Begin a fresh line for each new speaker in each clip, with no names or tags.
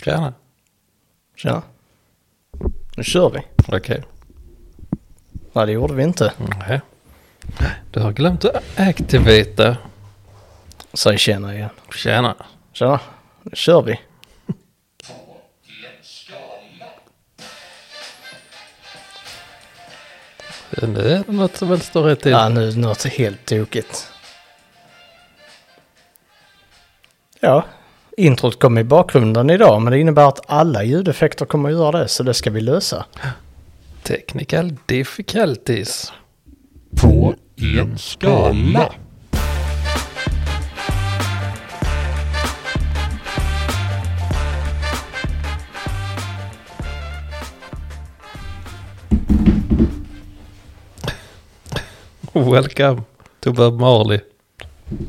ska jag gärna.
Tjena. Nu kör vi.
Okej.
Nej, det gjorde vi inte.
Nej. Du har glömt att activate.
Säg tjena igen.
Tjena.
Tjena. Nu kör vi.
Nu är det något som väl står rätt till.
Ja, nu är det något helt tokigt. Ja, introt kom i bakgrunden idag, men det innebär att alla ljudeffekter kommer att göra det, så det ska vi lösa.
Technical difficulties.
på en skala.
Welcome to Bob Marley.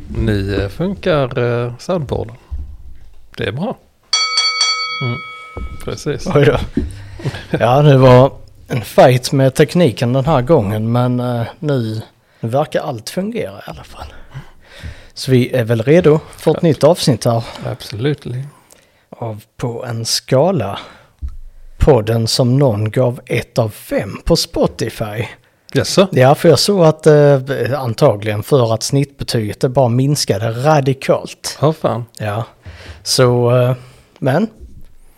Nu eh, funkar eh, soundboarden. Det är bra. Mm. Precis.
Oj då. Ja, det var en fight med tekniken den här gången, men eh, nu verkar allt fungera i alla fall. Så vi är väl redo för ett nytt avsnitt här
Absolut.
av På en skala. Podden som någon gav ett av fem på Spotify.
Jaså?
Ja, för jag såg att eh, antagligen för att snittbetyget det bara minskade radikalt.
Ja, fan.
Ja, så eh, men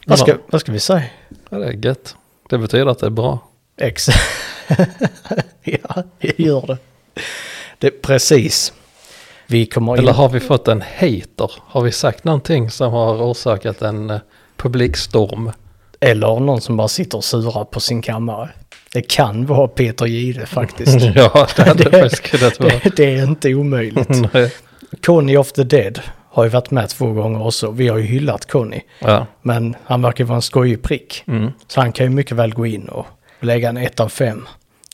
vad ska,
Ja.
vad ska vi säga?
Ja, det är gött. Det betyder att det är bra.
Ex. ja, jag gör det. Det precis. Vi kommer in...
Eller har vi fått en hater? Har vi sagt någonting som har orsakat en eh, publikstorm?
Eller någon som bara sitter och surar på sin kammare. Det kan vara Peter Gide faktiskt.
ja, det hade
Det-
faktiskt kunnat vara.
det, det är inte omöjligt.
Nej.
Conny of the Dead har ju varit med två gånger också. Vi har ju hyllat Conny.
ja.
Men han verkar vara en skojig prick.
Mm.
Så han kan ju mycket väl gå in och lägga en ett av fem.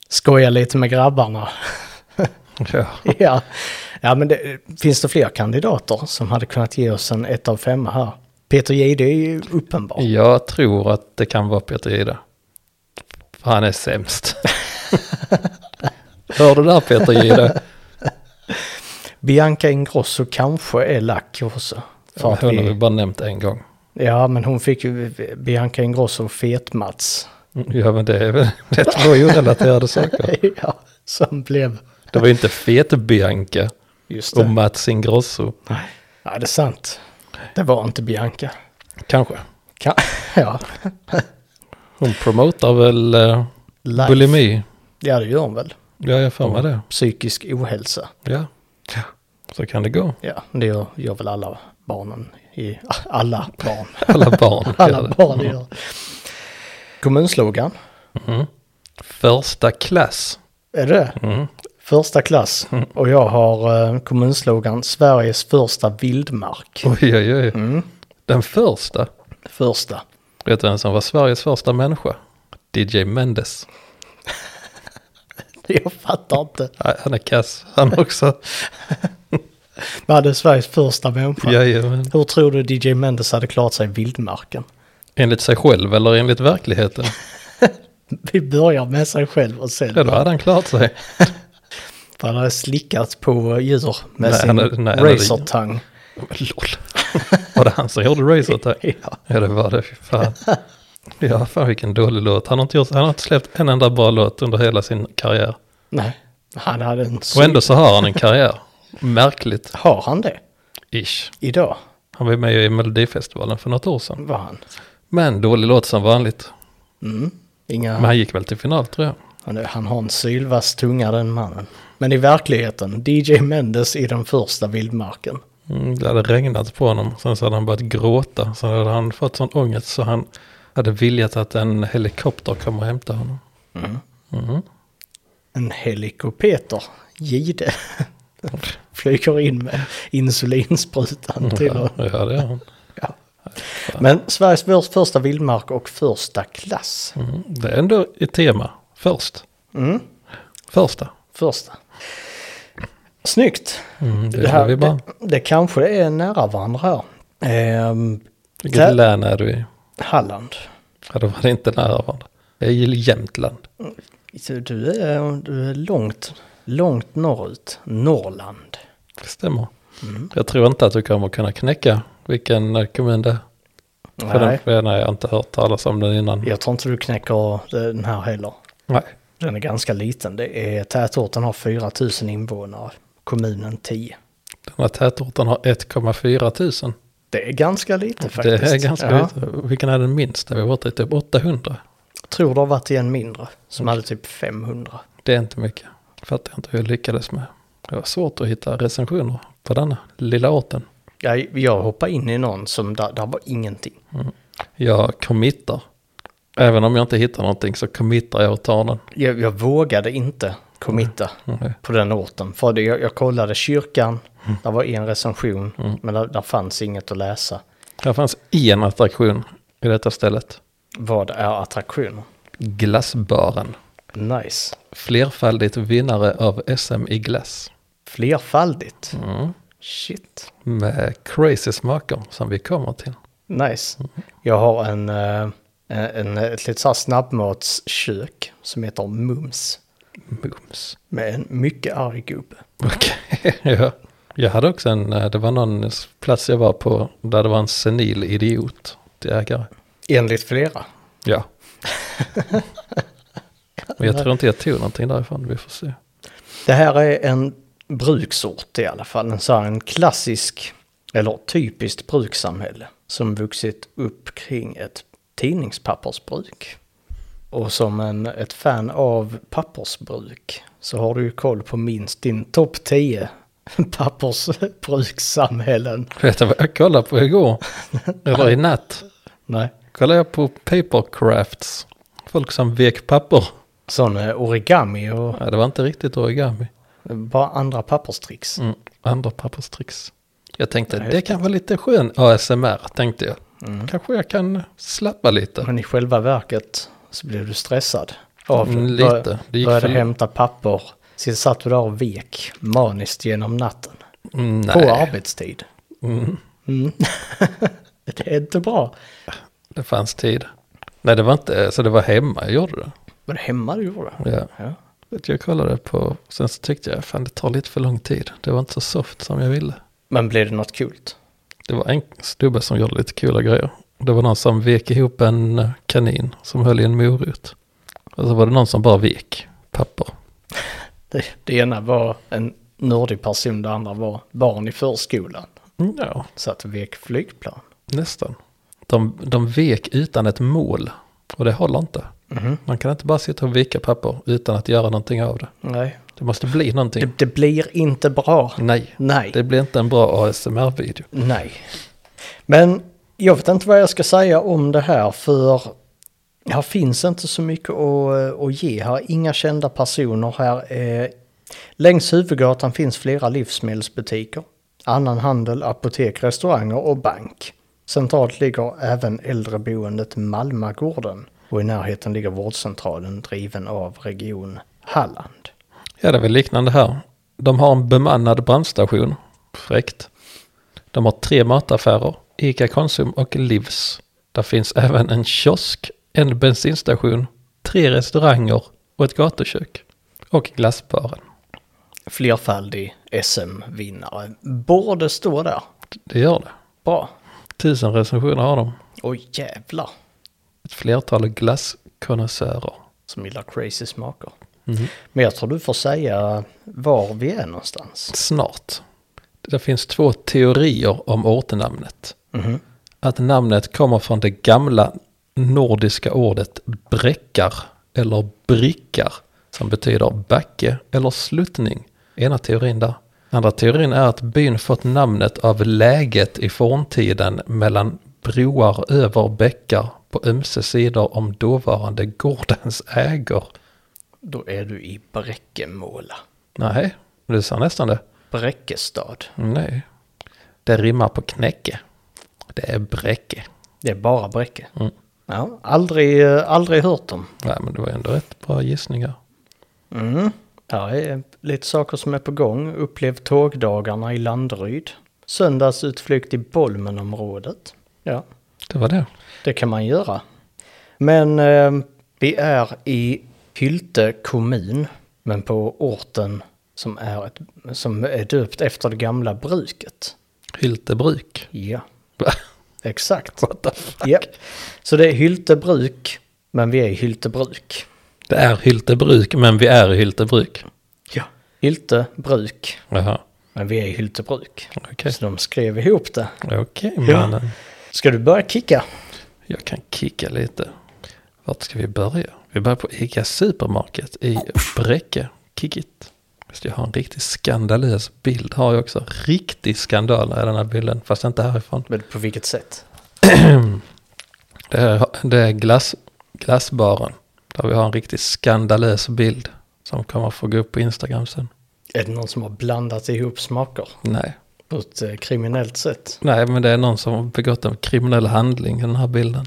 Skoja lite med grabbarna.
ja.
ja. ja, men det, finns det fler kandidater som hade kunnat ge oss en ett av femma här? Peter Jihde är ju uppenbar.
Jag tror att det kan vara Peter Jihde. För han är sämst. Hör du där Peter Jihde?
Bianca Ingrosso kanske är lack också. För att
Hon har vi
vi,
bara nämnt en gång.
ja, men hon fick ju Bianca Ingrosso fet-Mats.
Ja men det, är väl- Mm. det var ju relaterade saker.
ja, som blev...
Det var ju inte Fet-Bianca
Just
och
det.
Mats Ingrosso.
Nej, ja, det är sant. Det var inte Bianca.
Kanske.
Kan, ja,
Hon promotar väl eh,
Life.
bulimi.
ja, det gör hon väl.
Ja, jag får med det.
Psykisk ohälsa.
Ja. Så kan det gå.
Ja, det gör, gör väl alla barnen. I, alla barn.
Alla barn. gör
Alla
det.
barn gör. Kommunslogan.
Mm. Första klass.
Är det
Mm.
Första klass. Och jag har eh, kommunslogan Sveriges första vildmark.
Oj, oj, oj. Den första.
Första.
Vet du vem som var Sveriges första människa? DJ Mendes.
Jag fattar inte.
Nej, Han är kass han också.
Vi hade Sveriges första människa.
Jajamän.
Hur tror du DJ Mendes hade klarat sig i vildmarken?
Enligt sig själv eller enligt verkligheten?
Vi börjar med sig själv och sen
Ja, då hade han klarat sig.
för han hade slickat på djur med
Nej,
sin
han hade- nej, han hade-
razortang.
Men Lol. Var det han som gjorde Razor Attack?
Ja.
Ja, det var det. Fy fan. Ja, fan vilken dålig låt. Han har inte, gjort, han har inte släppt en enda bra låt under hela sin karriär.
Nej, han hade en...
Och ändå så har han en karriär. Märkligt.
Har han det?
Ish.
Idag
Han var med i Melodifestivalen för något år sedan.
var han.
Men dålig låt som vanligt.
Inga,
Men han gick väl till final tror jag.
han, han har en sylvass tunga den mannen. Men i verkligheten, DJ Mendes i den första vildmarken.
Mm, Det hade regnat på honom. Sen så hade han börjat gråta. Sen hade han fått sån ångest så han hade viljat att en helikopter kommer och hämta honom.
En helikopeter, Gide, flyger in med insulinsprutan till honom.
Ja, det är han.
Ja. Men Sveriges för- första vildmark och första klass.
Mm, Det är ändå ett tema. Först.
Mm.
Första.
Första. Snyggt.
Mm, det gillar vi bara.
det, det kanske är nära varandra här. Ehm,
Vilket
det-
län är du i?
Halland.
Ja, då var det inte nära varandra. Jag gillar Jämtland.
Så Du är, du är långt, långt norrut. Norrland. Mm.
Det stämmer. Jag tror inte att du kommer kunna knäcka vilken eh, kommun det är. För
Nej.
den, den har jag inte hört talas om den innan.
Jag tror inte du knäcker den här heller.
Nej.
Den är ganska liten. Det är, tätorten har 4 000 invånare, kommunen 10.
Den här tätorten har 1,4 000.
Det är ganska lite faktiskt.
Det är ganska
Ja.
lite. Vilken är den minsta vi har varit i? Typ 800.
Jag tror det har varit i en mindre som hade typ 500.
Det är inte mycket. Fattar jag inte hur jag lyckades med. Det var svårt att hitta recensioner på denna lilla orten.
Jag, jag hoppade in i någon som där, där var ingenting.
Jag committar. Även om jag inte hittar någonting så committar jag och tar den.
Jag, jag vågade inte committa
Mm.
på den orten. För det, jag, jag kollade kyrkan, där var en recension, men där, där fanns inget att läsa.
Här fanns en attraktion i detta stället.
Vad är attraktioner?
Glassbaren.
Nice.
Flerfaldigt vinnare av SM i glass.
Flerfaldigt.
Mm.
Shit.
Med crazy smaker som vi kommer till.
Nice. Jag har en, eh, en, ett litet så här snabbmatskök som heter Mums.
Mums.
Med en mycket arg gubbe.
Okej, ja. Jag hade också en, eh, det var någon plats jag var på där det var en senil idiot till ägare.
Enligt flera.
Ja. Men jag tror inte jag tog någonting därifrån, vi får se.
Det här är en bruksort i alla fall. En, så här, en klassisk, eller typiskt brukssamhälle. Som vuxit upp kring ett tidningspappersbruk. Och som en, ett fan av pappersbruk så har du ju koll på minst din topp 10 pappersbrukssamhällen.
Vet du vad jag kollade på igår? Eller i natt.
Nej.
Kollade jag på papercrafts. Folk som vek papper.
Sån eh, origami och
Ja, det var inte riktigt origami.
bara andra papperstricks.
Mm. Andra papperstricks. Jag tänkte,
Nej,
det kan vara lite skön ASMR, tänkte jag. Kanske jag kan slappa lite.
Men i själva verket så blev du stressad. Av
Mm,
det.
lite.
Bör-
Det gick
Började
för-
hämta papper. Sen satt du där och vek maniskt genom natten.
Mm,
På
Nej.
arbetstid.
Mm.
Mm. det är inte bra.
Det fanns tid. Nej, det var inte, så det var hemma jag gjorde det.
Var det hemma du gjorde? det?
Ja.
Ja.
Så att Jag kollade på, sen så tyckte jag, fan det tar lite för lång tid. Det var inte så soft som jag ville.
Men blev det något kul?
Det var en snubbe som gjorde lite coola grejer. Det var någon som vek ihop en eh, kanin som höll i en morot. Och så var det någon som bara vek papper.
Det, det ena var en nördig person, det andra var barn i förskolan.
Mm, Ja,
Satt och vek flygplan.
nästan. De, de vek utan ett mål. Och det håller inte.
Mhm.
Man kan inte bara sitta och vika papper utan att göra någonting av det.
Nej.
Det måste bli någonting.
Det, det blir inte bra.
Nej,
Nej.
Mm. det blir inte en bra ASMR-video.
Nej. Men jag vet inte vad jag ska säga om det här för här finns inte så mycket att, eh, att ge. Här är inga kända personer. Här är, längs huvudgatan finns flera livsmedelsbutiker, annan handel, apotek, restauranger och bank. Centralt ligger även äldreboendet Malmagården och i närheten ligger vårdcentralen driven av Region Halland.
Ja, det är väl liknande här. De har en bemannad brandstation. Fräckt. De har tre mataffärer, ICA Konsum och Livs. Där finns även en kiosk, en bensinstation, tre restauranger och ett gatukök. Och glassbaren.
Flerfaldig SM-vinnare. Borde stå där.
Det gör det.
Bra.
Tusen recensioner har de.
Oj jävlar.
Ett flertal glasskonnässörer.
Som gillar crazy smaker. Men jag tror du får säga var vi är någonstans.
Snart. Det finns två teorier om ortnamnet. Att namnet kommer från det gamla nordiska ordet bräckar eller brickar som betyder backe eller sluttning. Ena teorin där. Andra teorin är att byn fått namnet av läget i forntiden mellan broar över bäckar på ömse sidor om dåvarande gårdens ägor.
Då är du i Bräckemåla.
Nej, du sa nästan det.
Bräckestad.
Nej. Det rimmar på knäcke. Det är bräcke.
Det är bara Bräcke. Ja, aldrig, eh, aldrig hört dem.
Nej, men det var ändå rätt bra gissningar.
Mm. Här är lite saker som är på gång. Upplev tågdagarna i Landeryd. Söndagsutflykt i Bolmenområdet. Ja,
Det var det.
det kan man göra. Men eh, vi är i Hylte kommun, men på orten som är, ett, som är döpt efter det gamla bruket.
Hyltebruk.
Ja. Exakt.
What the fuck?
Ja. Så det är Hyltebruk, men vi är i Hyltebruk.
Det är Hyltebruk, men vi är i Hyltebruk.
Ja. Hyltebruk,
Jaha,
men vi är i Hyltebruk.
okej.
Så de skrev ihop det.
Okej,
Ja.
mannen.
Ska du börja kicka?
Jag kan kicka lite. Vart ska vi börja? Vi börjar på ICA Supermarket i Bräcke. Kick it. Just det, jag har en riktigt skandalös bild. Har jag också. Riktig skandal är den här bilden. Fast inte härifrån.
Men på vilket sätt?
Det är, det är glass, glassbaren. Där vi har en riktigt skandalös bild. Som kommer få gå upp på Instagram sen.
Är det någon som har blandat ihop smaker
Nej.
på ett eh, kriminellt sätt?
Nej, men det är någon som har begått en kriminell handling i den här bilden.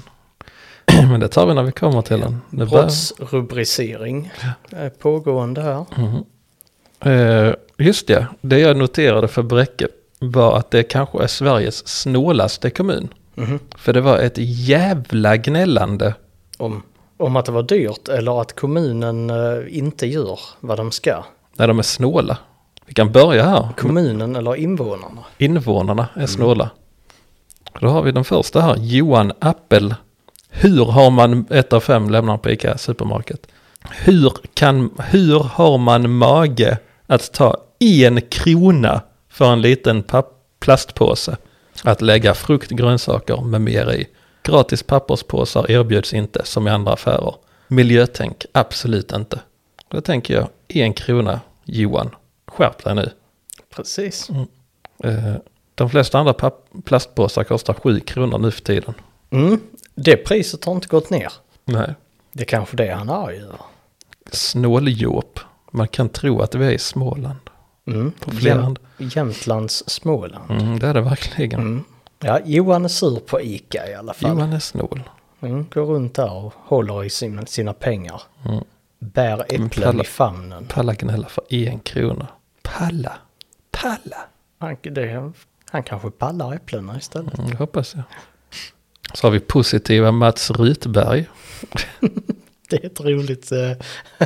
men det tar vi när vi kommer till den. Det bör-
Brottsrubricering är pågående här.
Eh, just det, det jag noterade för Bräcke var att det kanske är Sveriges snålaste kommun.
Mhm.
För det var ett jävla gnällande.
Om, om att det var dyrt eller att kommunen eh, inte gör vad de ska.
när de är snåla. Vi kan börja här.
Kommunen eller invånarna.
Invånarna är snåla. Då har vi den första här, Johan Appel. Hur har man, ett av fem lämnar på ICA Supermarket. Hur, kan, hur har man mage att ta en krona för en liten papp, plastpåse? Att lägga frukt, grönsaker med mer i. Gratis papperspåsar erbjuds inte som i andra affärer. Miljötänk, absolut inte. Då tänker jag, en krona, Johan. Skärp dig nu.
Precis.
Eh, De flesta andra papp- plastpåsar kostar 7 kronor nu för tiden.
Mm. Det priset har inte gått ner.
Nej.
Det är kanske det han är arg över.
Snåljåp. Man kan tro att vi är i Småland.
Mm.
På flera hand.
Jämtlands Småland.
Mm, det är det verkligen.
Mm. Ja, Johan är sur på Ica i alla fall.
Johan är snål.
Mm, går runt där och håller i sina, sina pengar.
Mm.
Bär äpplen
Palla.
i famnen.
Palla gnälla för en krona. Palla. Palla.
Han, det, han kanske pallar äpplena istället.
Mm, det hoppas jag. Så har vi positiva Mats Rutberg.
Det är ett roligt... eh,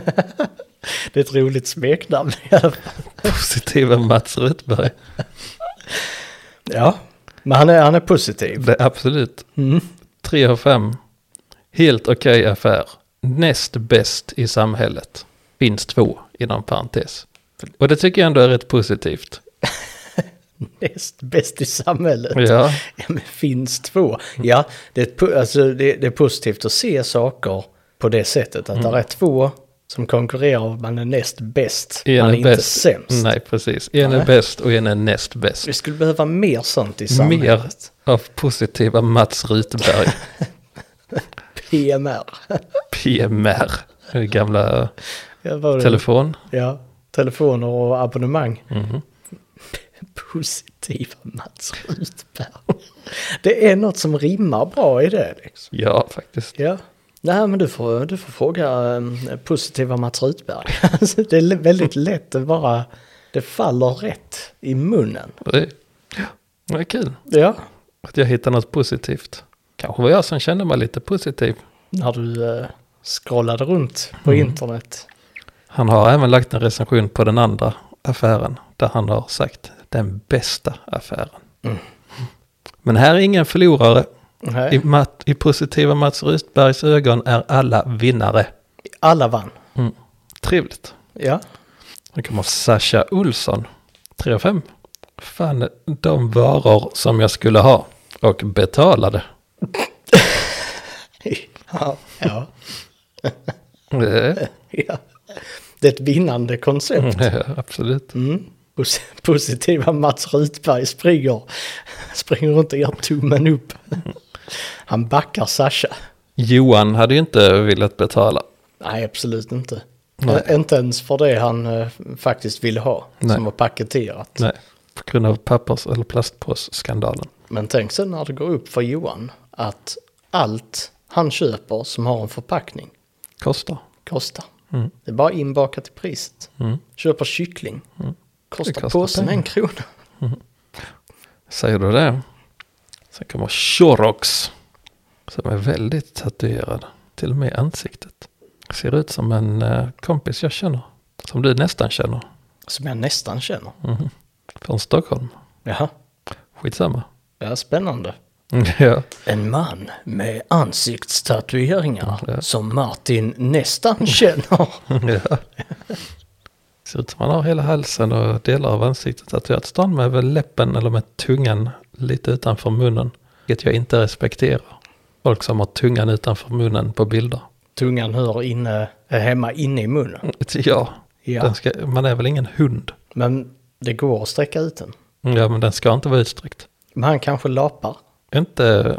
det är ett roligt smeknamn i alla fall.
Positiva Mats Rutberg.
Ja, men han är, han är positiv.
Det är absolut.
Mm.
3 av 5. Helt okej affär. Näst bäst i samhället. Finns två inom parentes. Och det tycker jag ändå är rätt positivt.
Näst bäst i samhället.
Ja,
Ja, men finns två. Ja, det är, ett po- alltså, det, det är positivt att se saker på det sättet.
Mm.
Att det är två som konkurrerar och man är näst bäst.
en
man är
är
inte
bäst.
sämst.
Nej, precis. En
Nej.
är bäst och en är näst bäst.
Vi skulle behöva mer sånt i
Mer
samhället.
av positiva Mats Rutberg.
PMR.
PMR. Det gamla
Ja, vad var det?
telefon.
Ja, telefoner och abonnemang. Positiva Mats Rutberg. Det är något som rimmar bra i det. Liksom.
Ja, faktiskt.
Ja. Nej, men du får, du får fråga eh, positiva Mats Rutberg. Alltså, det är l- väldigt lätt att bara... Det faller rätt i munnen.
Det är, det är kul
Ja.
att jag hittar något positivt. Kanske var jag som kände mig lite positiv.
När du eh, scrollade runt på internet.
Han har även lagt en recension på den andra affären där han har sagt den bästa affären. Men här är ingen förlorare. I,
Nej.
Matt, I positiva Mats Rutbergs ögon är alla vinnare.
Alla vann.
Trevligt.
Ja.
Nu kommer Sasha Olsson. 3 5. Fan, de varor som jag skulle ha och betalade.
ja. ja.
Eh,
Ja. Det är ett vinnande koncept.
eh, Absolut.
Mm. Pos- Positiva Mats Rutberg springer, springer runt och gör tummen upp. Han backar Sasha.
Johan hade ju inte velat betala.
Nej, absolut inte.
Nej.
Ä- Inte ens för det han eh, faktiskt ville ha,
Nej.
som var paketerat.
Nej, på grund av pappers eller plastpåsskandalen.
Men tänk sen när det går upp för Johan att allt han köper som har en förpackning
Kostar. Mm.
kostar. Det är bara inbakat i priset. Köper kyckling, kostar,
Mm. Det kostar
påsen
pengar.
en krona.
Säger du det? Sen kommer Shorox. Som är väldigt tatuerad. Till och med i ansiktet. Ser ut som en eh, kompis jag känner. Som du nästan känner. Mhm.
Som jag nästan känner.
Från Stockholm.
Jaha,
Skitsamma.
det är spännande.
Ja.
En man med ansiktstatueringar som Martin nästan känner.
ja. Ser ut som man har hela halsen och delar av ansiktet tatuerat. Stan med väl läppen eller med tungan lite utanför munnen. Vilket jag inte respekterar. Folk som har tungan utanför munnen på bilder.
Tungan hör inne, är hemma inne i munnen.
Ja,
Ja.
Den ska, man är väl ingen hund?
Men det går att sträcka ut den.
Ja, men den ska inte vara utsträckt.
Men han kanske lapar.
Inte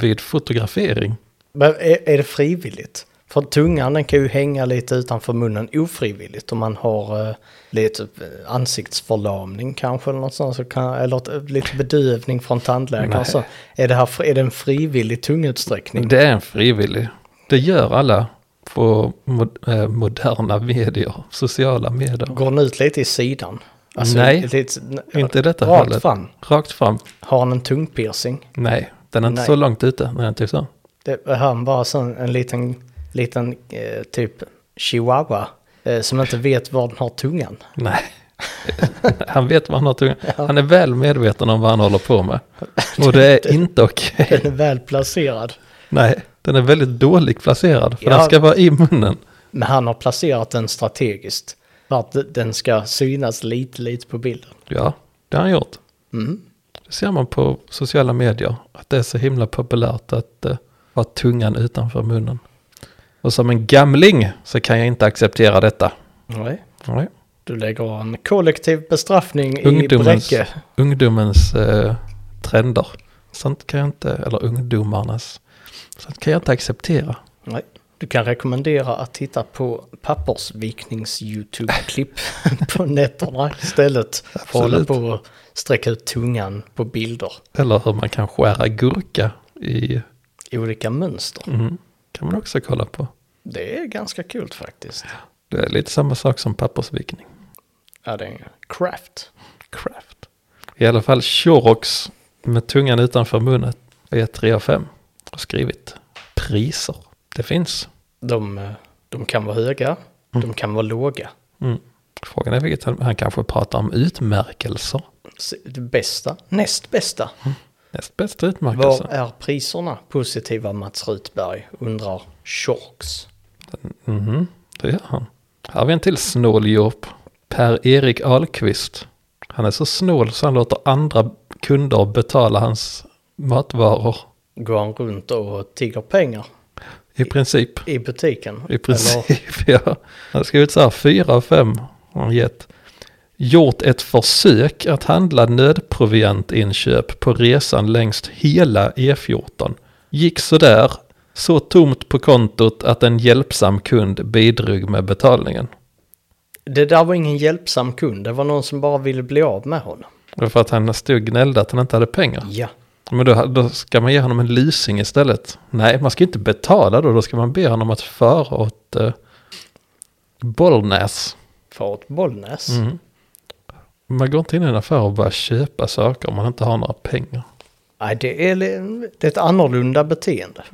vid fotografering.
Men är, är det frivilligt? För tungan den kan ju hänga lite utanför munnen ofrivilligt om man har eh, lite typ, eh, ansiktsförlamning kanske eller något sånt. Så kan, eller ett- eh, lite bedövning från tandläkaren.
Nej.
och Så är, det här, fri- är det en frivillig tungutsträckning?
Det är en frivillig. Det gör alla på mod, eh, moderna medier, sociala medier.
Går den ut lite i sidan? Alltså,
Nej,
lite,
Inte i detta
Rakt
fallet.
fram.
Rakt fram.
Har han en tungpiercing?
Nej, den är inte
Nej.
så långt ute. Nej, typ så.
Det har han bara sån, en liten, liten eh, typ chihuahua eh, som inte vet var den har tungan.
Nej. han vet vad han har tungan. Han är väl medveten om vad han håller på med. Och det är inte okej.
Den är väl placerad.
Nej, den är väldigt dåligt placerad. För
Ja.
den ska vara i munnen.
Men han har placerat den strategiskt. För att den ska synas lite, lite på bilden. Mm.
Ja, det har han gjort. Det ser man på sociala medier, att det är så himla populärt att eh, ha tungan utanför munnen. Och som en gamling så kan jag inte acceptera detta.
Nej.
Nej.
Du lägger en kollektiv bestraffning
Ungdomens-
i Bräcke.
Ungdomens eh, trender, sånt kan jag inte, eller ungdomarnas, sånt kan jag inte acceptera.
Nej. Du kan rekommendera att titta på pappersviknings-YouTube-klipp på nätterna istället. För att hålla
Absolut.
på och sträcka ut tungan på bilder
Eller hur man kan skära gurka i,
i olika mönster.
mm, kan man också kolla på.
Det är ganska kul faktiskt.
Det är lite samma sak som pappersvikning.
Ja, det är en craft.
Craft. I alla fall Shorox med tungan utanför munnen är 3 av 5. Har skrivit priser. Det finns.
De, eh, de kan vara höga, de kan vara låga.
Mm. Frågan är vilket han, han kanske pratar om utmärkelser.
Så Det bästa, näst bästa.
Näst bästa
Var
utmärkelse.
är priserna positiva Mats Rutberg? Undrar Shorks.
Mhm, det gör han. Här har vi en till snåljåp. Per-Erik Ahlqvist. Han är så snål så han låter andra kunder betala hans matvaror.
Går han runt och tigger pengar
I princip.
i butiken?
I princip, ja. Han har skrivit så här, fyra av fem har han gett. Gjort ett försök att handla nödproviantinköp på resan längs hela E14. Gick sådär, så tomt på kontot att en hjälpsam kund bidrog med betalningen.
Eller, det där var ingen hjälpsam kund, det var någon som bara ville bli av med honom.
Det var För att han stod och gnällde att han inte hade pengar.
Ja.
Men då, då ska man ge honom en lysing istället. Nej, man ska inte betala då, då ska man be honom att föra åt eh, Bollnäs.
För ett Bollnäs.
Mm. Man går inte in i en affär och bara köpa saker om man inte har några pengar.
Nej, det är, det är ett annorlunda beteende.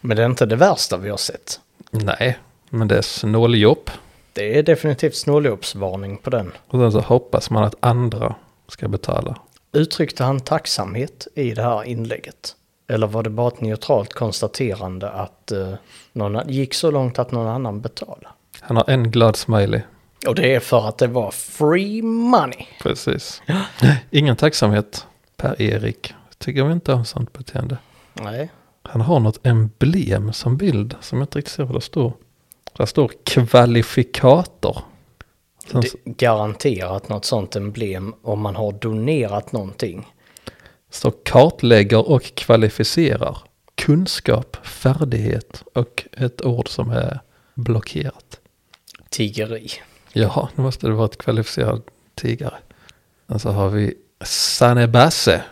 Men det är inte det värsta vi har sett.
Nej, men det är snåljobb.
Det är definitivt snåljåpsvarning på den.
Och sen så hoppas man att andra ska betala.
Uttryckte han tacksamhet i det här inlägget? Eller var det bara ett neutralt konstaterande att eh, någon a- gick så långt att någon annan betalade?
Han har en glad smiley.
Och det är för att det var free money.
Precis. Ingen tacksamhet, Per-Erik. Tycker vi inte om sånt beteende.
Nej,
Han har något emblem som bild som jag inte riktigt ser vad det står. Där står kvalifikator. Sen så
det är garanterat något sånt emblem om man har donerat någonting.
står kartlägger och kvalificerar. Kunskap, färdighet och ett ord som är blockerat.
Tiggeri.
Jaha, nu måste det vara ett kvalificerat tiggare. Sen så har vi Sanne Basse.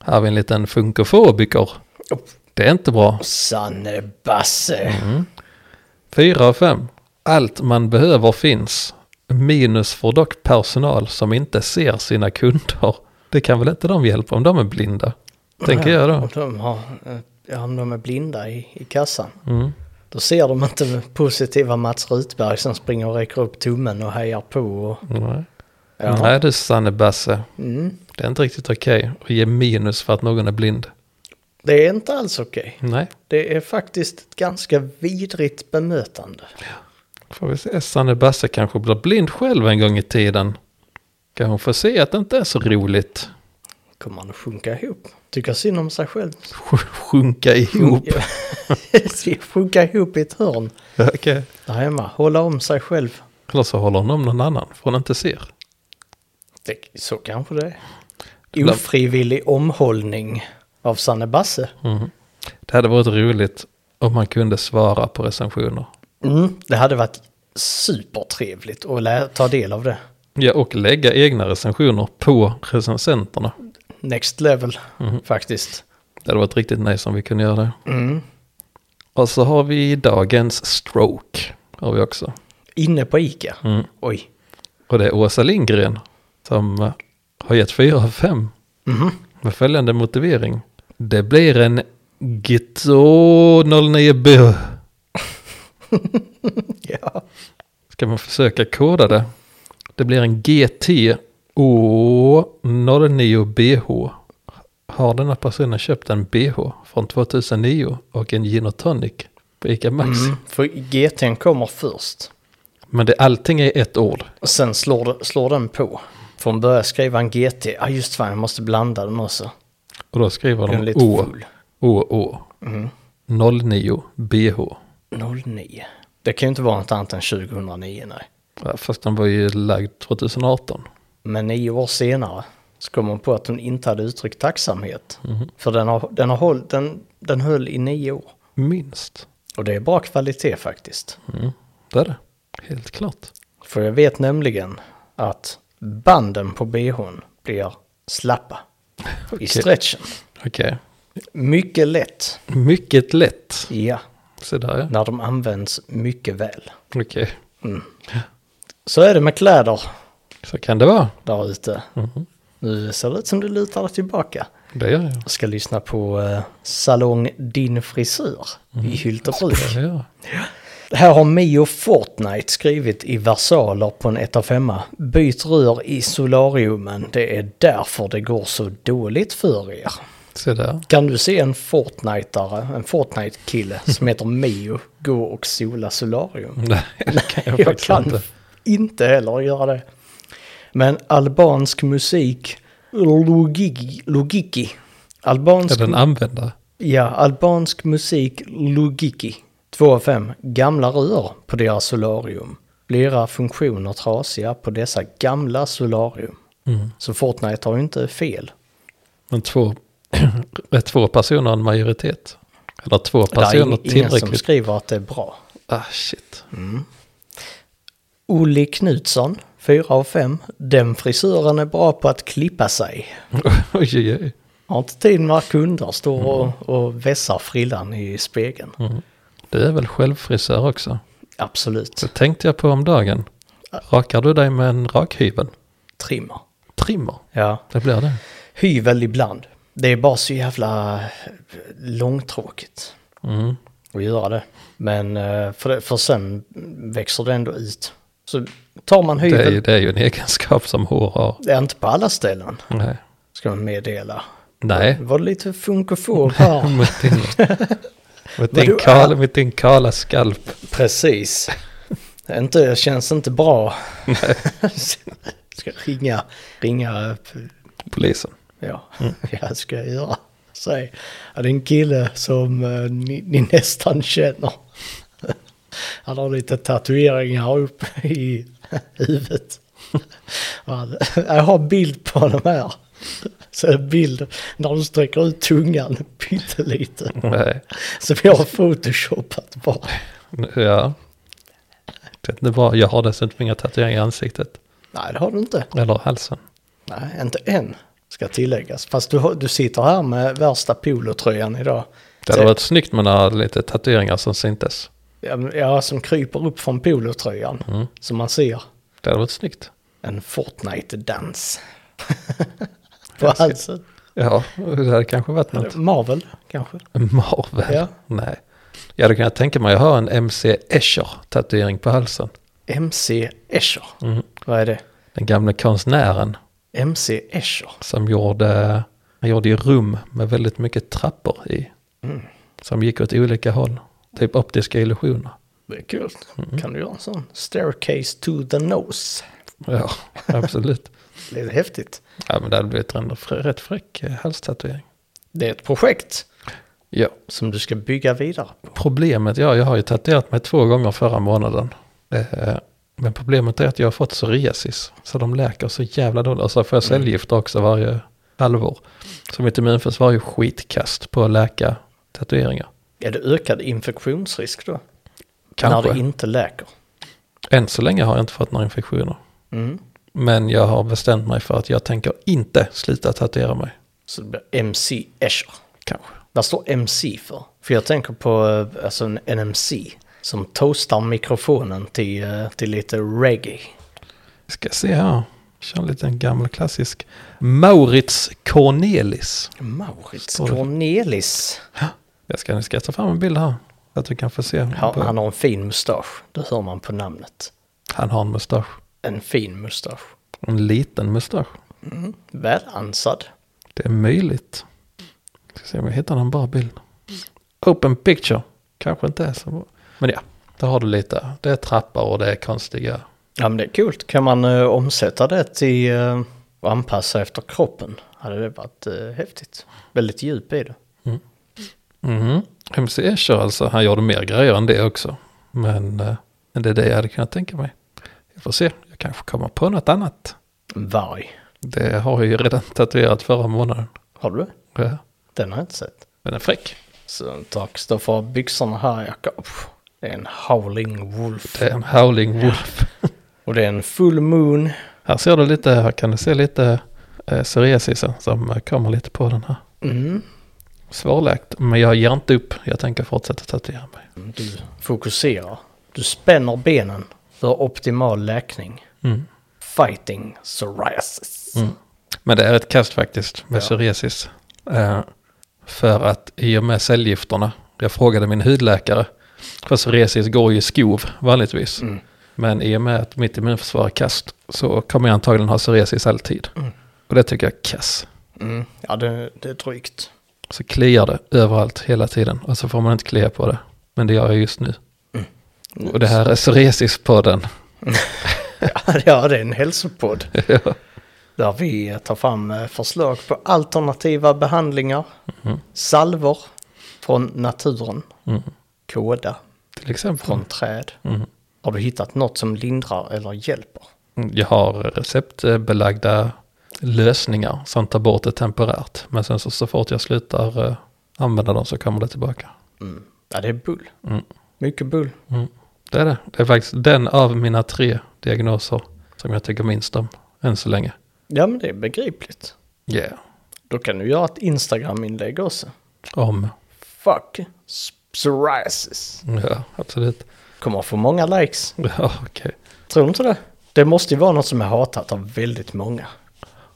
Här har vi en liten funkofobiker. Det är inte bra.
Sanne Basse.
Mm. Fyra av fem. Allt man behöver finns. Minus för dock personal som inte ser sina kunder. Det kan väl inte de hjälpa om de är blinda? Tänker jag då.
Om de, har, eh, ja, om de är blinda i, i kassan.
Mm.
Då ser de inte positiva Mats Rutberg som springer och räcker upp tummen och hejar på. Och,
Nej.
Ja.
Nej du Sanne Basse.
mm.
Det är inte riktigt okej att ge minus för att någon är blind.
Det är inte alls okej.
Nej,
Det är faktiskt ett ganska vidrigt bemötande.
får vi se. Sanne Basse kanske blir blind själv en gång i tiden. Kan hon få se att det inte är så roligt?
Kommer han att sjunka ihop? Tycka synd om sig själv.
Sj- Sjunka ihop.
sjunka ihop i ett hörn.
Okej.
Där hemma. Hålla om sig själv.
Eller så håller hon om någon annan, för hon inte ser.
Det, så kanske det är.
Bland-
Ofrivillig omhållning av Sanne Basse.
Det hade varit roligt om man kunde svara på recensioner.
Mm, det hade varit supertrevligt att lä- ta del av det.
Ja, och lägga egna recensioner på recensenterna.
Next level faktiskt.
Det hade varit riktigt nice om vi kunde göra det. Och så har vi dagens stroke. Har vi också.
Inne på Ica. Oj.
Och det är Åsa Lindgren som eh, har gett 4 av 5. Med följande motivering. Det blir en Gito 09B.
Ja.
Ska man försöka koda det? Det blir en GT O 09 BH. Har denna personen köpt en BH från 2009 och en gin och tonic på ICA Maxi?
Mm. För GT'n kommer först.
Men det, allting är ett ord.
Och sen slår, det- slår den på. För hon börjar skriva en GT. Ja ah, just fan, jag måste blanda den också.
Och då skriver
Den är
de
lite
O,
full.
O, O. 09 BH.
09. Det kan ju inte vara något annat än 2009 nej.
Ja, Fast den var ju lagd 2018.
Men nio år senare så kom hon på att hon inte hade uttryckt tacksamhet. För den, har, den, har håll, den, den höll i nio år.
Minst. Mm.
Och det är bra kvalitet faktiskt.
Det är det. Helt klart.
För jag vet nämligen att banden på bhn blir slappa i stretchen.
Okej.
Mycket lätt,
Mycket lätt.
ja,
Så där ja.
när de används mycket väl.
Okej.
Så är det med kläder
Så kan det vara.
där ute. Nu ser det ut som du lutar dig tillbaka.
Det gör jag.
Jag ska lyssna på eh, Salong Din Frisör i Hyltebruk.
Det gör jag.
Här har Mio Fortnite skrivit i versaler på en 1 femma. Byt rör i solariumen, det är därför det går så dåligt för er.
Se där.
Kan du se en Fortniteare, en Fortnite-kille som heter Mio gå och sola solarium?
Nej, det kan jag,
Jag
faktiskt
kan
inte.
inte heller göra det. Men albansk musik, logiki, logiki.
Är
Albansk
den användare?
Ja, albansk musik Lugiki. 2 av 5. Gamla rör på deras solarium. Flera funktioner trasiga på dessa gamla solarium. Så Fortnite har ju inte fel.
Men två, är två personer en majoritet? Eller två
Det är
personer
ing- ingen som
tillräckligt?
skriver att det är bra.
Ah, shit.
Olle Knutsson, 4 av 5. Den frisören är bra på att klippa sig.
oj, oj, oj.
Har inte tid när kunder står och, och vässar frillan i spegeln.
Du är väl självfrisör också?
Absolut.
Det tänkte jag på om dagen. Rakar du dig med en rakhyvel?
Trimmer.
Trimmer?
Ja.
Det blir det.
hyvel ibland. Det är bara så jävla eh, långtråkigt
Mm.
att göra det. Men eh, för, det, för sen växer det ändå ut. Så tar man
Det, är,
hyvel,
ju- det är ju en egenskap som hår har.
det är inte på alla ställen,
Nej.
ska man meddela.
Nej.
Var det lite funkofob här?
Med din, med din,
Vadå?
kala, med din kala skalp.
Precis. Det är inte, känns inte bra. ska ringa, ringa upp
Polisen.
Ja, jag ska jag göra. Säg, ja, det är en kille som eh, ni, ni nästan känner. Han har lite tatueringar upp i huvudet. Och han- Jag har bild på honom här. Så en bild när du sträcker ut tungan pyttelite.
Nej.
Som jag har photoshopat bort.
Ja. Det är inte bra. Jag har dessutom inga tatueringar i ansiktet.
Nej, det har du inte.
Eller halsen.
Nej, inte än. Ska tilläggas. Fast du, har- du sitter här med värsta polotröjan idag.
Det
Så-
hade varit snyggt med några lite tatueringar som syntes.
Ja, men- Ja, som kryper upp från polotröjan. Som man ser
Det hade varit snyggt.
en Fortnite-dans. På halsen.
Ja, det hade kanske varit något.
Marvel, kanske.
Marvel?
Ja.
Nej. Jag hade kunnat tänka mig att ha en MC Escher-tatuering på halsen.
MC Escher. Vad är det?
Den gamle konstnären
MC Escher.
som gjorde Han gjorde ju rum med väldigt mycket trappor i. Som gick åt olika håll. Typ optiska illusioner.
Det är kul. Kan du göra en sån? Staircase to the nose.
Ja, absolut.
Det är häftigt.
Ja, men det hade blivit en fr- rätt fräck eh, halstatuering.
Det är ett projekt
Ja.
som du ska bygga vidare på.
Problemet, ja, jag har ju tatuerat mig två gånger förra månaden. Eh, Men problemet är att jag har fått psoriasis. Så de läker så jävla dåligt. Och så får jag cellgifter också varje halvår. Så mitt immunförsvar är ju skitkast på att läka tatueringar.
Är det ökad infektionsrisk då?
Kanske.
När det inte läker.
Än så länge har jag inte fått några infektioner.
Mm.
Men jag har bestämt mig för att jag tänker inte sluta tatuera mig.
Så det blir MC Escher.
Kanske.
Vad står MC för? För jag tänker på eh, alltså en NMC som toastar mikrofonen till, eh, till lite reggae.
Ska se här. Kör en liten gammal klassisk. Maurits Cornelis.
Maurits
Står det för-
Cornelis.
Jag ska, jag ska ta fram en bild här. Så att du kan få se.
Ja,
på-
han har en fin mustasch, det hör man på namnet.
han har en mustasch.
En fin mustasch.
En liten mustasch.
Välansad.
Det är möjligt. Ska se om jag hittar någon bra bild. Open picture. Kanske inte är så bra. Men ja, där har du lite. Det är trappor och det är konstiga.
Ja men det är kul. Kan man eh, omsätta det till eh, och anpassa efter kroppen hade det varit eh, häftigt. Väldigt djup i det.
Mhm. MC Escher alltså, han gjorde mer grejer än det också. Men eh, men det är det jag hade kunnat tänka mig. Jag får se, jag kanske kommer på något annat.
Varg.
Det har jag ju redan tatuerat förra månaden.
Har du det?
Ja,
Den har jag inte sett.
Den är fräck.
Så tack stå för byxorna här Jakob. Det är en howling wolf.
Det är en howling wolf.
Och det är en full moon.
Här ser du lite, här kan du se lite eh, psoriasisen som eh, kommer lite på den här.
Mm.
Svårläkt, men jag ger inte upp. Jag tänker fortsätta tatuera mig.
Du fokuserar. Du spänner benen för optimal läkning.
Mm.
Fighting psoriasis.
Men det är ett kast faktiskt med
Ja.
psoriasis. Eh, för att i och med cellgifterna, jag frågade min hudläkare, för psoriasis går ju i skov vanligtvis.
Mm.
Men i och med att mitt immunförsvar är kast så kommer jag antagligen ha psoriasis alltid. Och det tycker jag är kass.
Mm. Ja det, det är drygt.
Så kliar det överallt hela tiden och så får man inte klia på det. Men det gör jag just nu. Och det här är psoriasispodden.
Ja, det är en hälsopodd. Där vi tar fram eh, förslag på alternativa behandlingar,
Mm.
salvor från naturen, kåda
Till exempel. Mm.
från träd. Har du hittat något som lindrar eller hjälper?
Jag har receptbelagda lösningar som tar bort det temporärt. Men sen så, så fort jag slutar eh, använda dem så kommer det tillbaka. Mm.
Ja, det är bull. Mycket bull.
Det är det. Det är faktiskt den av mina tre diagnoser som jag tycker minst om än så länge.
Ja, men det är begripligt.
Yeah.
Då kan du göra ett Instagram-inlägg också.
Om.
Fuck psoriasis.
Ja, absolut.
Kommer få många likes.
Ja, okej.
Tror du inte det? Det måste ju vara något som är hatat av väldigt många.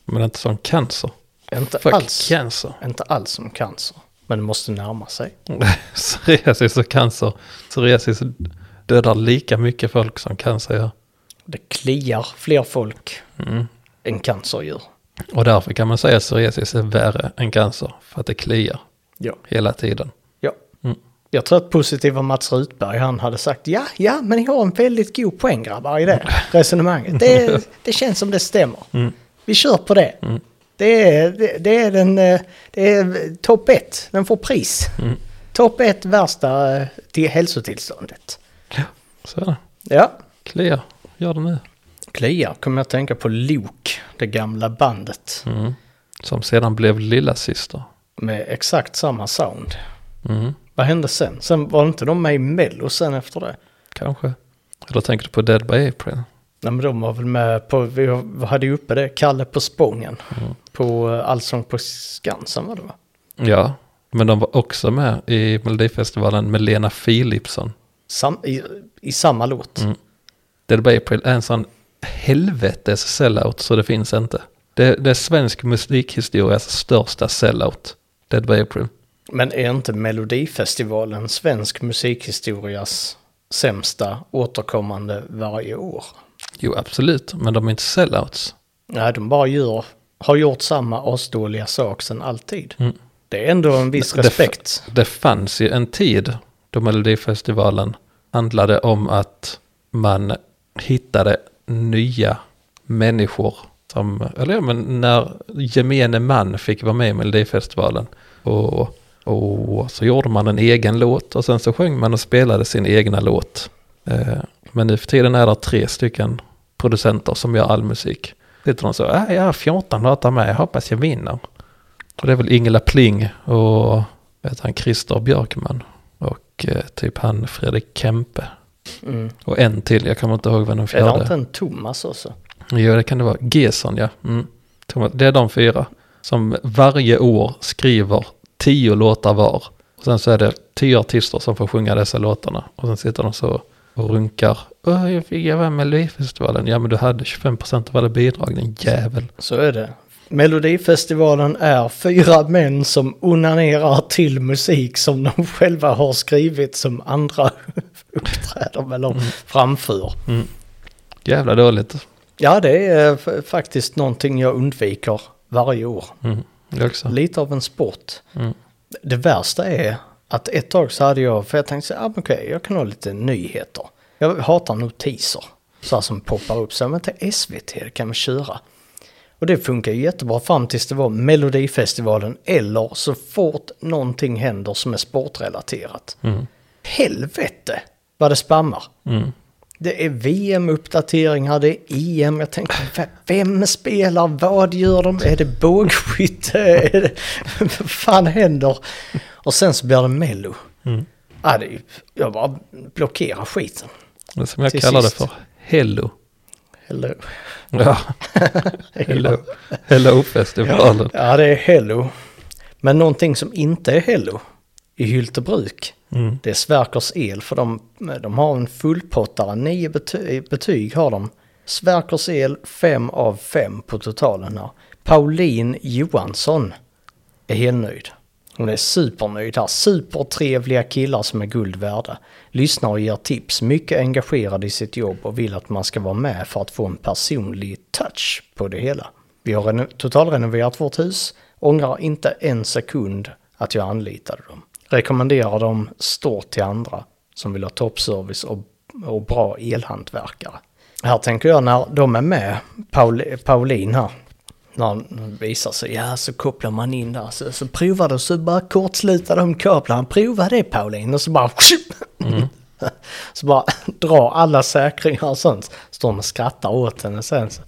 Men inte som cancer.
Inte
Fuck
alls.
cancer.
Inte alls som cancer, men det måste närma sig.
Psoriasis och cancer. Psoriasis dödar lika mycket folk som cancer gör.
Det kliar fler folk än cancerdjur.
Och därför kan man säga att psoriasis är värre än cancer. För att det kliar
Ja.
hela tiden.
ja. Mm. Jag tror att positiva Mats Rutberg, han hade sagt ja, ja, men ni har en väldigt god poäng grabbar i det resonemanget. Det, det känns som det stämmer. Vi kör på det. Det, är, det, det är den, eh, det är topp ett, den får pris. Topp ett värsta eh, till hälsotillståndet.
Så är det.
Ja.
Kliar, gör det nu.
Kliar kommer jag att tänka på Lok, det gamla bandet.
Mm. Som sedan blev lilla syster.
med exakt samma sound.
Mm,
Vad hände sen? Sen var inte de med i Mello sen efter det?
kanske. Eller tänker du på Dead by April?
Nej men de var väl med på, vi hade ju uppe det, Kalle på Spången.
Mm.
På eh, Allsång på Skansen var det va?
Ja, men de var också med i Melodifestivalen med Lena Philipsson.
Sam, i, I samma låt.
Mm. Dead by April är en sån helvetes sellout så det finns inte. Det, det är svensk musikhistorias största sellout. Dead by April.
Men är inte Melodifestivalen svensk musikhistorias sämsta återkommande varje år?
Jo, absolut, men de är inte sellouts.
Nej, de bara gör har gjort samma asdåliga sak sedan alltid.
Mm.
Det är ändå en viss
Det- det-
respekt.
Det fanns ju en tid då Melodifestivalen handlade om att man hittade nya människor. Som, eller ja, men när gemene man fick vara med i Melodifestivalen. Och, och så gjorde man en egen låt och sen så sjöng man och spelade sin egna låt. Eh, men nu för tiden är det tre stycken producenter som gör all musik. Sitter de så, äh, jag har 14 låtar med, jag hoppas jag vinner. Och det är väl Ingela Pling och vad heter han, Christer Björkman och eh, typ han Fredrik Kempe.
Mm.
Och en till, jag kommer inte ihåg vem den
Är det inte
fjärde.
en Thomas också?
Jo, det kan det vara. Gesson, ja. Mm. Thomas- Det är de fyra som varje år skriver tio låtar var. Och sen så är det tio artister som får sjunga dessa låtarna. Och sen sitter de så och runkar. Åh, jag fick jag vara med i Melodifestivalen. Ja, men du hade 25% av alla bidrag, din jävel.
Så är det. Melodifestivalen är fyra män som onanerar till musik som de själva har skrivit som andra uppträder eller framför.
Jävla dåligt.
Ja, det är f- faktiskt någonting jag undviker varje år.
Mm. Jag också.
Lite av en sport.
Mm.
Det värsta är att ett tag så hade jag, för jag tänkte så här, ah, men okej, jag kan ha lite nyheter. Jag hatar notiser, så här som poppar upp. Så här, vänta, SVT, det kan man köra. Och det funkar ju jättebra fram tills det var Melodifestivalen eller så fort någonting händer som är sportrelaterat.
Mm.
Helvete vad det spammar.
Mm.
Det är VM-uppdateringar, det är EM. Jag tänkte, v- vem spelar, vad gör de? Är det bågskytte? Är det, vad fan händer? Och sen så blir det Mello.
Mm.
Ja, det är, ju- jag bara blockerar skiten.
Det som jag
Till
kallar
sist.
det för Hello.
Hello.
Ja, Hello, hello festivalen.
Ja, det är Hello. Men någonting som inte är Hello i Hyltebruk,
Mm.
det är Sverkers El. För de, de har en fullpottare, nio betyg, betyg har de. Sverkers El, fem av fem på totalen här. Pauline Johansson är helnöjd. Hon är supernöjd här. Supertrevliga killar som är guld värda. Lyssnar och ger tips, mycket engagerad i sitt jobb och vill att man ska vara med för att få en personlig touch på det hela. Vi har reno- totalrenoverat vårt hus, ångrar inte en sekund att jag anlitade dem. Rekommenderar dem stort till andra som vill ha toppservice och, och bra elhantverkare. Här tänker jag när de är med, Paul, Pauline här, när han visar sig, ja så kopplar man in där, så, så provar du, så bara kortslutar de kablarna, prova det Pauline, och så bara... så bara dra alla säkringar och sånt. Står de och skrattar åt henne sen. Så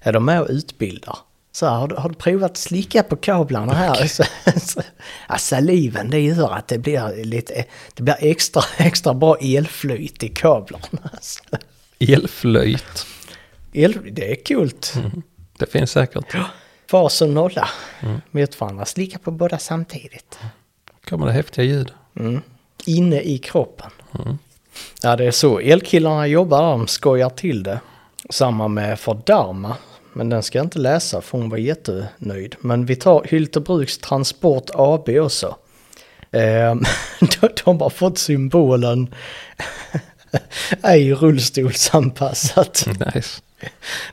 är de med och utbildar. Så här, har, du, har du provat slicka på kablarna här? Så, så, ja, saliven det gör att det blir lite, det blir extra, extra bra elflyt i kablarna. Så,
Elflöjt. Mm.
el, det är kul.
Det finns säkert.
Fas och nolla mot varandra. Slicka på båda samtidigt.
Kommer det häftiga ljud.
Inne i kroppen. Ja, det är så. Elkillarna jobbar, de skojar till det. Samma med Fördärma. Men den ska jag inte läsa för hon var jättenöjd. Men vi tar Hyltebruks Transport AB också. Ehm, de, de har fått symbolen ej rullstolsanpassat.
Nice.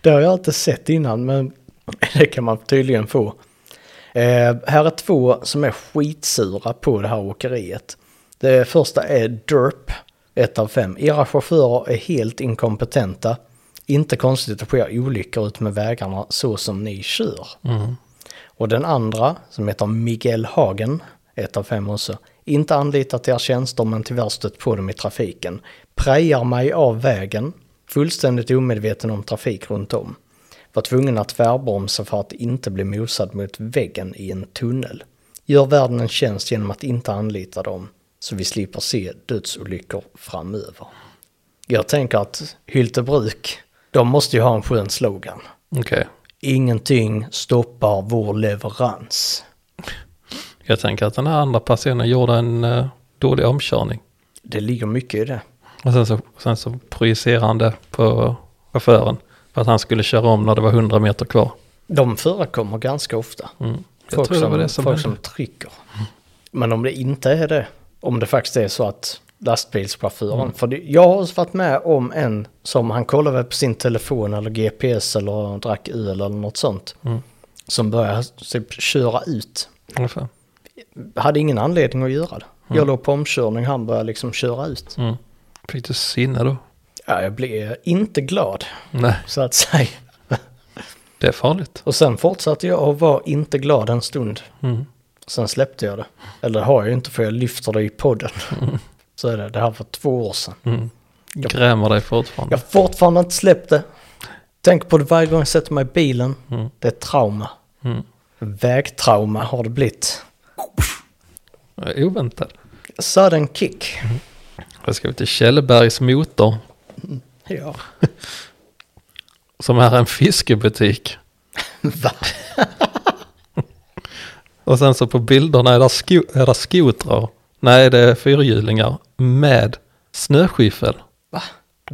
Det har jag inte sett innan men det kan man tydligen få. Eh, här är två som är skitsura på det här åkeriet. Det första är DERP, ett av fem. Era chaufförer är helt inkompetenta. Inte konstigt att det sker olyckor ut med vägarna så som ni kör. Och den andra, som heter Miguel Hagen, ett av fem också, inte anlitat er tjänster men tyvärr stött på dem i trafiken. Prejar mig av vägen, fullständigt omedveten om trafik runt om. Var tvungen att tvärbromsa för att inte bli mosad mot väggen i en tunnel. Gör världen en tjänst genom att inte anlita dem, så vi slipper se dödsolyckor framöver. Jag tänker att Hyltebruk, de måste ju ha en skön slogan.
Okej.
Ingenting stoppar vår leverans.
Jag tänker att den här andra personen gjorde en eh, dålig omkörning.
Det ligger mycket i det.
Och sen så, sen så projicerar han det på chauffören. För att han skulle köra om när det var 100 meter kvar.
De förekommer ganska ofta.
Mm. Jag
Folk,
tror det
som,
var det som
folk
hände.
som trycker. Men om det inte är det, om det faktiskt är så att lastbilschauffören,
Mm.
för det, jag har också varit med om en
Mm.
som han kollade på sin telefon eller GPS eller drack öl eller något sånt. som började typ köra ut.
Ungefär.
Hade ingen anledning att göra det. Jag låg på omkörning, han började liksom köra ut.
Mm. Fick du sinne då?
Ja, jag blev inte glad,
Nej,
så att säga.
det är farligt.
Och sen fortsatte jag att vara inte glad en stund.
Mm.
Sen släppte jag det. Eller det har jag ju inte för jag lyfter det i podden. Så är det. Det här var två år sedan.
Mm. Grämer dig fortfarande.
Jag har fortfarande inte släppt det. Tänk på det varje gång jag sätter mig i bilen.
Mm.
Det är ett trauma.
Mm.
Vägtrauma har det blivit.
Oväntad.
Sudden kick.
Då ska vi till Kjellbergs motor.
Ja.
Som är en fiskebutik.
Va?
Och sen så på bilderna är det, sko är det skotrar. Nej, det är fyrhjulingar med snöskyffel.
De,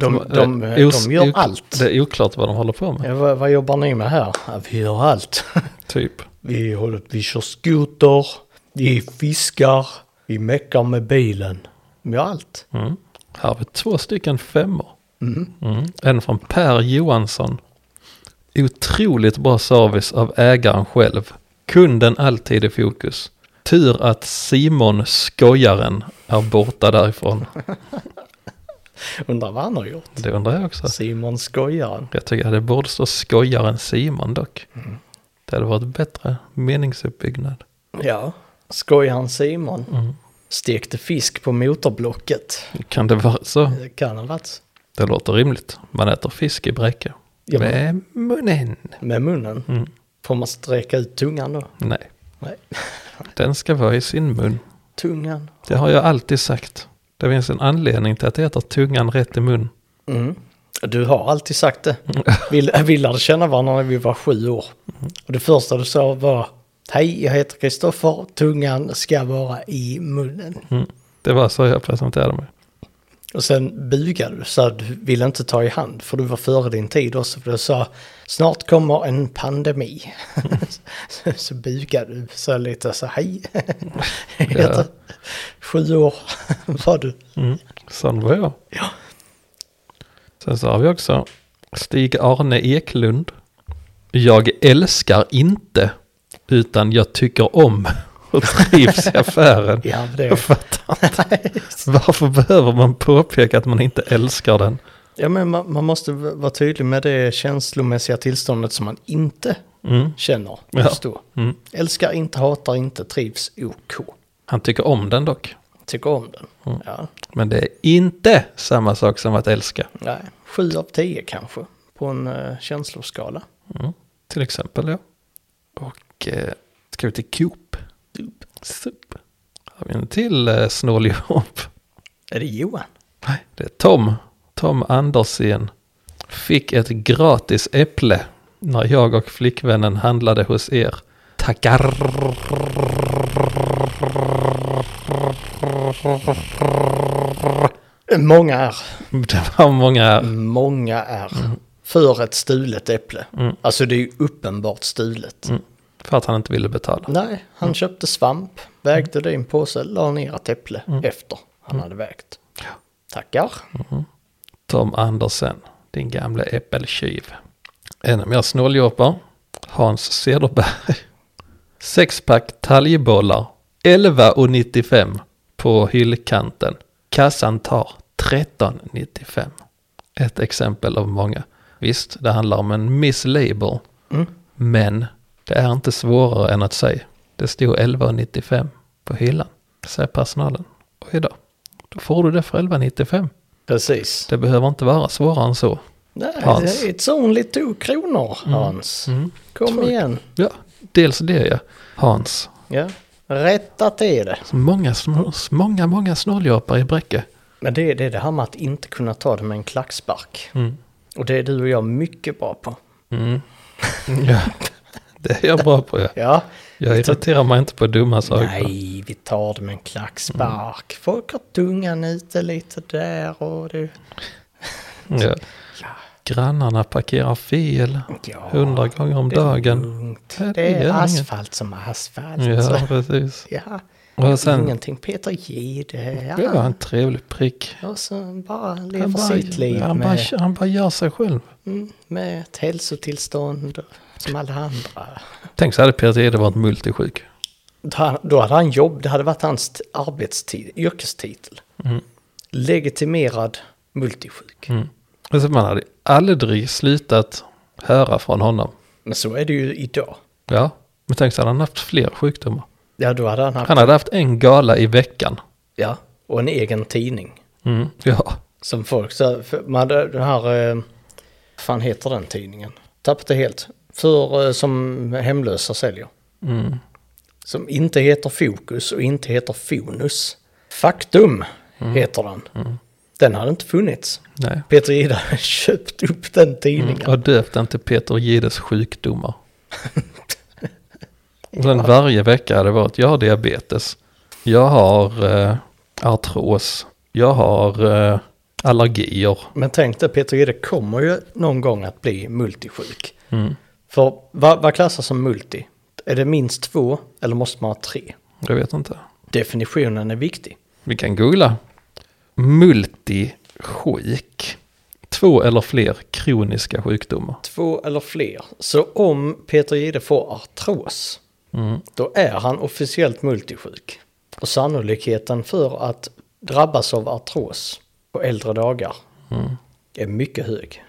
Som,
de,
eh,
de,
os-
gör
ok-
allt.
Det är oklart vad de håller på med,
Ja, vad, vad jobbar ni med här? Ja, vi gör allt.
typ.
Vi, håller, vi kör skoter, vi fiskar, vi meckar med bilen. Vi gör allt.
Mm. Här har vi två stycken femmor. Mm. En från Per Johansson. Otroligt bra service av ägaren själv. Kunden alltid i fokus. Tur att Simon skojaren är borta därifrån.
Undrar vad han har gjort.
Det undrar jag också.
Simon skojaren.
Jag tycker att det borde stå skojaren Simon dock.
Mm.
Det hade varit bättre meningsuppbyggnad.
Ja. Skojaren Simon.
Mm.
Stekte fisk på motorblocket.
Kan det vara så?
Det kan ha varit.
Det låter rimligt. Man äter fisk i Bräcke.
Ja, men-
Med munnen.
Med munnen?
Mm.
Får man sträcka ut tungan då?
Nej,
Nej.
den ska vara i sin mun.
Tungan?
Det har jag alltid sagt. Det finns en anledning till att jag äter tungan rätt i mun.
Mm. Du har alltid sagt det.
Mm.
Vi, vi lärde känna varandra när vi var sju år. Och det första du sa var Hej, jag heter Kristoffer. Tungan ska vara i munnen.
Mm. Det var så jag presenterade mig.
Och sen bugade du, så du ville inte ta i hand, för du var före din tid också. För du sa, snart kommer en pandemi. så, så bugade du, så lite så, hej.
Ja.
Sju år var du.
Mm. Sån var jag. Sen så har vi också Stig-Arne Eklund. Jag älskar inte, utan jag tycker om och trivs i affären.
Ja, men det
Jag fattar inte. Varför behöver man påpeka att man inte älskar den?
ja, men man, man måste v- vara tydlig med det känslomässiga tillståndet som man inte
Mm.
känner
Ja.
just då.
Mm.
Älskar inte, hatar inte, trivs OK.
Han tycker om den dock.
Tycker om den. Ja.
Men det är inte samma sak som att älska.
Nej, sju av tio kanske, på en eh, känsloskala.
Mm. Till exempel ja. Och eh, ska vi till Coop. Sup. Har vi en till eh, snålig hopp?
Är det Johan?
Nej, det är Tom. Tom Andersen. Fick ett gratis äpple när jag och flickvännen handlade hos er. Tackar.
Eh, Många är.
Det var många här.
Många är. För ett stulet äpple.
Mm.
Alltså det är ju uppenbart stulet.
Mm. För att han inte ville betala.
Nej, han köpte svamp, vägde det i en påse, la ner ett äpple
Mm.
efter han hade vägt. Tackar.
Tom Andersen, din gamla äppeltjuv. Ännu mer snåljåpar. Hans Cederberg. Sexpack talgbollar. 11,95 på hyllkanten. Kassan tar 13,95. Ett exempel av många. Visst, det handlar om en mislabel. Men det är inte svårare än att säga. Det stod 11,95 på hyllan, säger personalen. Och idag, då får du det för 11,95.
Precis.
Det behöver inte vara svårare än så.
Nej,
Hans. Mm.
it's only two kronor, Hans. Kom igen.
Ja, dels det ja. Hans.
Ja. Rätta till det.
Så Många, sm- många, många snåljåpar i Bräcke.
Men det, det är det här med att inte kunna ta det med en klackspark.
Mm.
Och det är du och jag mycket bra på.
Ja, det är jag bra på. Ja.
Ja,
Jag irriterar mig inte på dumma saker.
Nej, vi tar det med en klackspark.
Mm.
Folk har tungan ute lite där och du...
Ja.
Ja.
Grannarna parkerar fel
Ja,
hundra gånger om
det är
dagen.
lugnt.
Ja, det
Det
gör
är
inget.
asfalt som är asfalt.
Ja, precis.
Ja,
Och sen,
Ingenting Peter Jihde.
det var
Ja.
en trevlig prick.
Och så bara lever
Han bara,
sitt liv
han,
med,
bara, han bara gör sig själv.
mm, med ett hälsotillstånd som alla andra.
Tänk så hade Peter Jihde varit multisjuk.
Då han- Då hade han jobb, det hade varit hans t- arbetstid, yrkestitel.
Mm.
Legitimerad multisjuk.
Alltså man hade aldrig slutat höra från honom.
Men så är det ju idag.
Ja, men tänk så hade han haft fler sjukdomar.
Ja, då hade han haft,
Han hade haft en gala i veckan.
ja, och en egen tidning.
Mm, ja,
Som folk, så, för man hade den här, eh, fan heter den tidningen? Tappat det helt. För, eh, som hemlösa säljer.
mm.
Som inte heter Fokus och inte heter Fonus. Faktum heter den. Den hade inte funnits.
nej.
Peter Jihde hade köpt upp den tidningen.
Mm. Och döpt den till Peter Jihdes sjukdomar. Och sen varje vecka hade det varit, jag har diabetes, jag har eh, artros, jag har eh, allergier.
Men tänk dig, Peter Jihde kommer ju någon gång att bli multisjuk.
Mm.
För vad, vad klassas som multi? Är det minst två eller måste man ha tre?
Jag vet inte.
Definitionen är viktig.
Vi kan googla. Multisjuk. Två eller fler kroniska sjukdomar.
Två eller fler. Så om Peter Jihde får artros,
Mm.
då är han officiellt multisjuk. Och sannolikheten för att drabbas av artros på äldre dagar
Mm.
är mycket hög.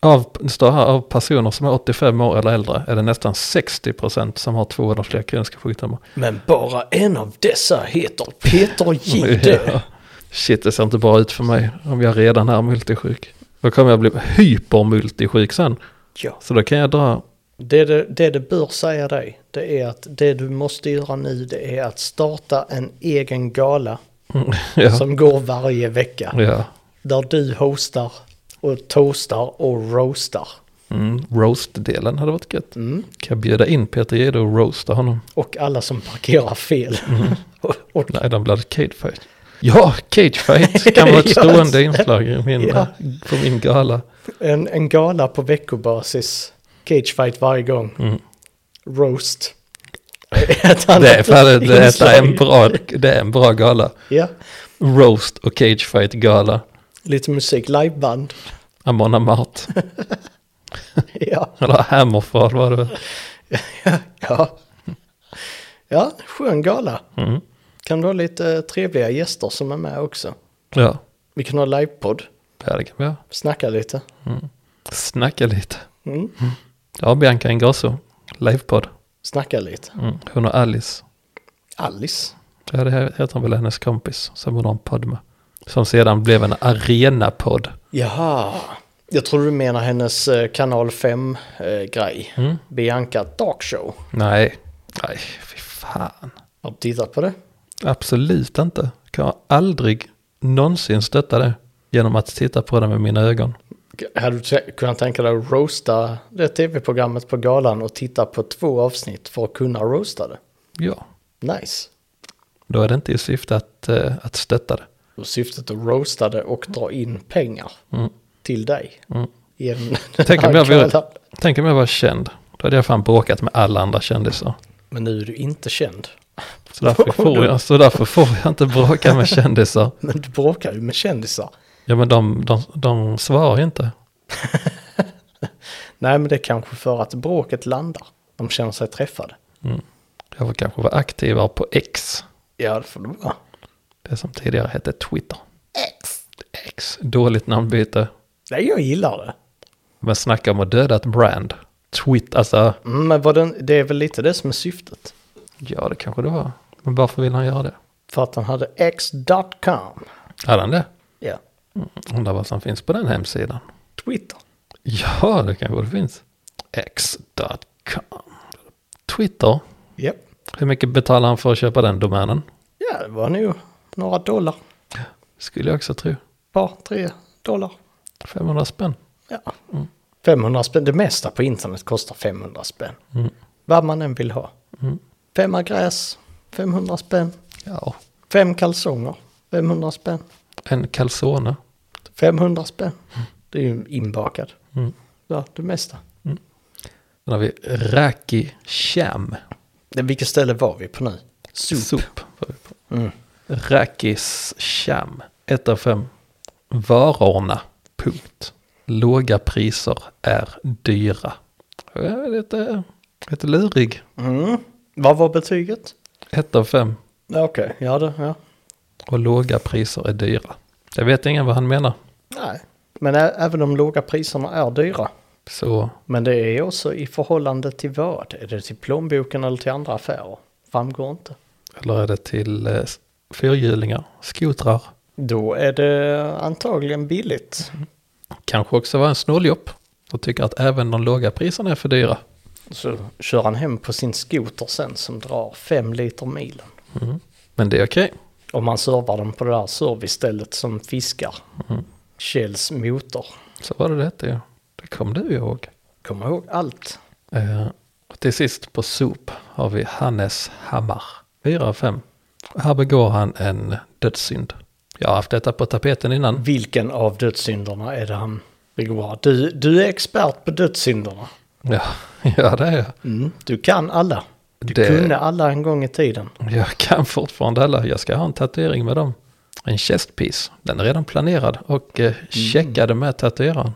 Av, det står här, av personer som är 85 år eller äldre är det nästan 60% som har två eller fler kroniska sjukdomar.
Men bara en av dessa heter Peter
Ja.
Jihde.
Shit, det ser inte bra ut för mig om jag redan är multisjuk. Då kommer jag bli hypermultisjuk sen.
ja.
Så då kan jag dra,
Det det, det det bör säga dig, det är att det du måste göra nu, det är att starta en egen gala
ja,
som går varje vecka.
ja.
Där du hostar och toastar och roastar.
Mm, roast-delen hade varit gött.
Mm.
Kan jag bjuda in Peter Jihde och roasta honom?
Och alla som parkerar fel.
Mm.
och, och,
Nej, den blev cagefight. Ja, cagefight kan vara ett
Ja,
stående inslag i min,
Ja.
på min gala.
en, en gala på veckobasis, cagefight varje gång.
Mm.
Roast. Ett annat
Det är, fan, det, detta är en
inslag.
bra, det är en bra gala.
Ja,
Roast och cagefight-gala.
lite musik, liveband.
Amon Amart.
Ja.
Eller Hammerfall var det väl?
Ja. Ja, skön gala.
Mm.
Kan du ha lite eh, trevliga gäster som är med också?
Ja,
Vi kan ha livepodd,
ja, det kan vi göra.
snacka lite.
Snacka lite.
Mm.
Ja, Bianca Ingrosso. Livepodd.
Snacka lite.
Mm. Hon och Alice.
Alice.
Ja, det här heter väl hennes kompis som hon har en podd med. Som sedan blev en arenapodd.
Jaha. Jag tror du menar hennes eh, kanal 5-grej.
Mm.
Bianca Darkshow.
Nej, nej, fy fan.
Har du tittat på det?
Absolut inte. Kan jag aldrig någonsin stötta det genom att titta på det med mina ögon.
G- Hade du t- kunnat tänka dig att roasta det tv-programmet på galan och titta på två avsnitt för att kunna roasta det?
Ja,
Nice.
då är det inte i syfte att, eh, att stötta det.
Och syftet att roasta det och dra in pengar
Mm.
till dig.
Mm.
Genom
Tänk om
den
jag
här
vore-
galan.
Tänk om jag var känd. Då hade jag fan bråkat med alla andra kändisar.
Men nu är du inte känd.
Så därför får jag, så därför får jag inte bråka med kändisar.
Men du bråkar ju med kändisar.
Ja men de, de, de svarar ju inte.
Nej, men det är kanske för att bråket landar. De känner sig träffade.
Jag får kanske vara aktivare på X.
Ja, det får du vara.
Det som tidigare hette Twitter. X. X. Dåligt namnbyte.
Nej, jag gillar det.
Men snacka om att döda ett brand. Twitter, alltså.
Mm, Men vad den, det är väl lite det som är syftet.
Ja det kanske det var. Men varför vill han göra det?
För att han hade x.com.
Hade han det? Mm,
Ja,
Undrar vad som finns på den hemsidan.
Twitter.
Ja, det kanske det finns. X.com. Twitter.
Ja,
Hur mycket betalar han för att köpa den domänen?
ja det var nog några dollar.
Skulle jag också tro.
Par, tre dollar.
500 spänn.
Ja. 500 spänn. Det mesta på internet kostar 500 spänn. Vad man än vill ha. Femma gräs, 500 spänn.
Ja.
Fem kalsonger, 500 spänn.
En calzone.
500 spänn. Det är ju inbakad.
Mm.
Ja, det mesta.
Sen har vi Raki Sham.
Det, vilket ställe var vi på nu? Soup.
Sop. var vi på.
Mm.
Rakis Cham 1 av 5. Varorna, punkt. Låga priser är dyra. Jag är lite, lite lurig.
Mm. Vad var betyget?
1 av 5
Ja, Okej, ja det, ja.
och låga priser är dyra. Jag vet ingen vad han menar.
Nej. Men ä- även de låga priserna är dyra.
Så
Men det är också i förhållande till vad? Är det till plånboken eller till andra affärer? Framgår inte.
Eller är det till eh, fyrhjulingar, skotrar?
Då är det antagligen billigt.
Kanske också var en snåljobb och tycker att även de låga priserna är för dyra.
Så kör han hem på sin skoter sen som drar fem liter milen.
Men det är okej.
Om man servar den på det där servicestället som fiskar. Kjells motor.
Så var det detta ju. Det kom du ihåg.
Kom ihåg allt.
Eh, och till sist på sop har vi Hannes Hammar. 4 av 5. Här begår han en dödssynd. Jag har haft detta på tapeten innan.
Vilken av dödssynderna är det han begår? Du, du är expert på dödssynderna.
Ja, ja det är jag.
Mm. Du kan alla. Du
Det-
kunde alla en gång i tiden.
Jag kan fortfarande alla. Jag ska ha en tatuering med dem. En chestpiece. Den är redan planerad och eh, checkade med tatueraren.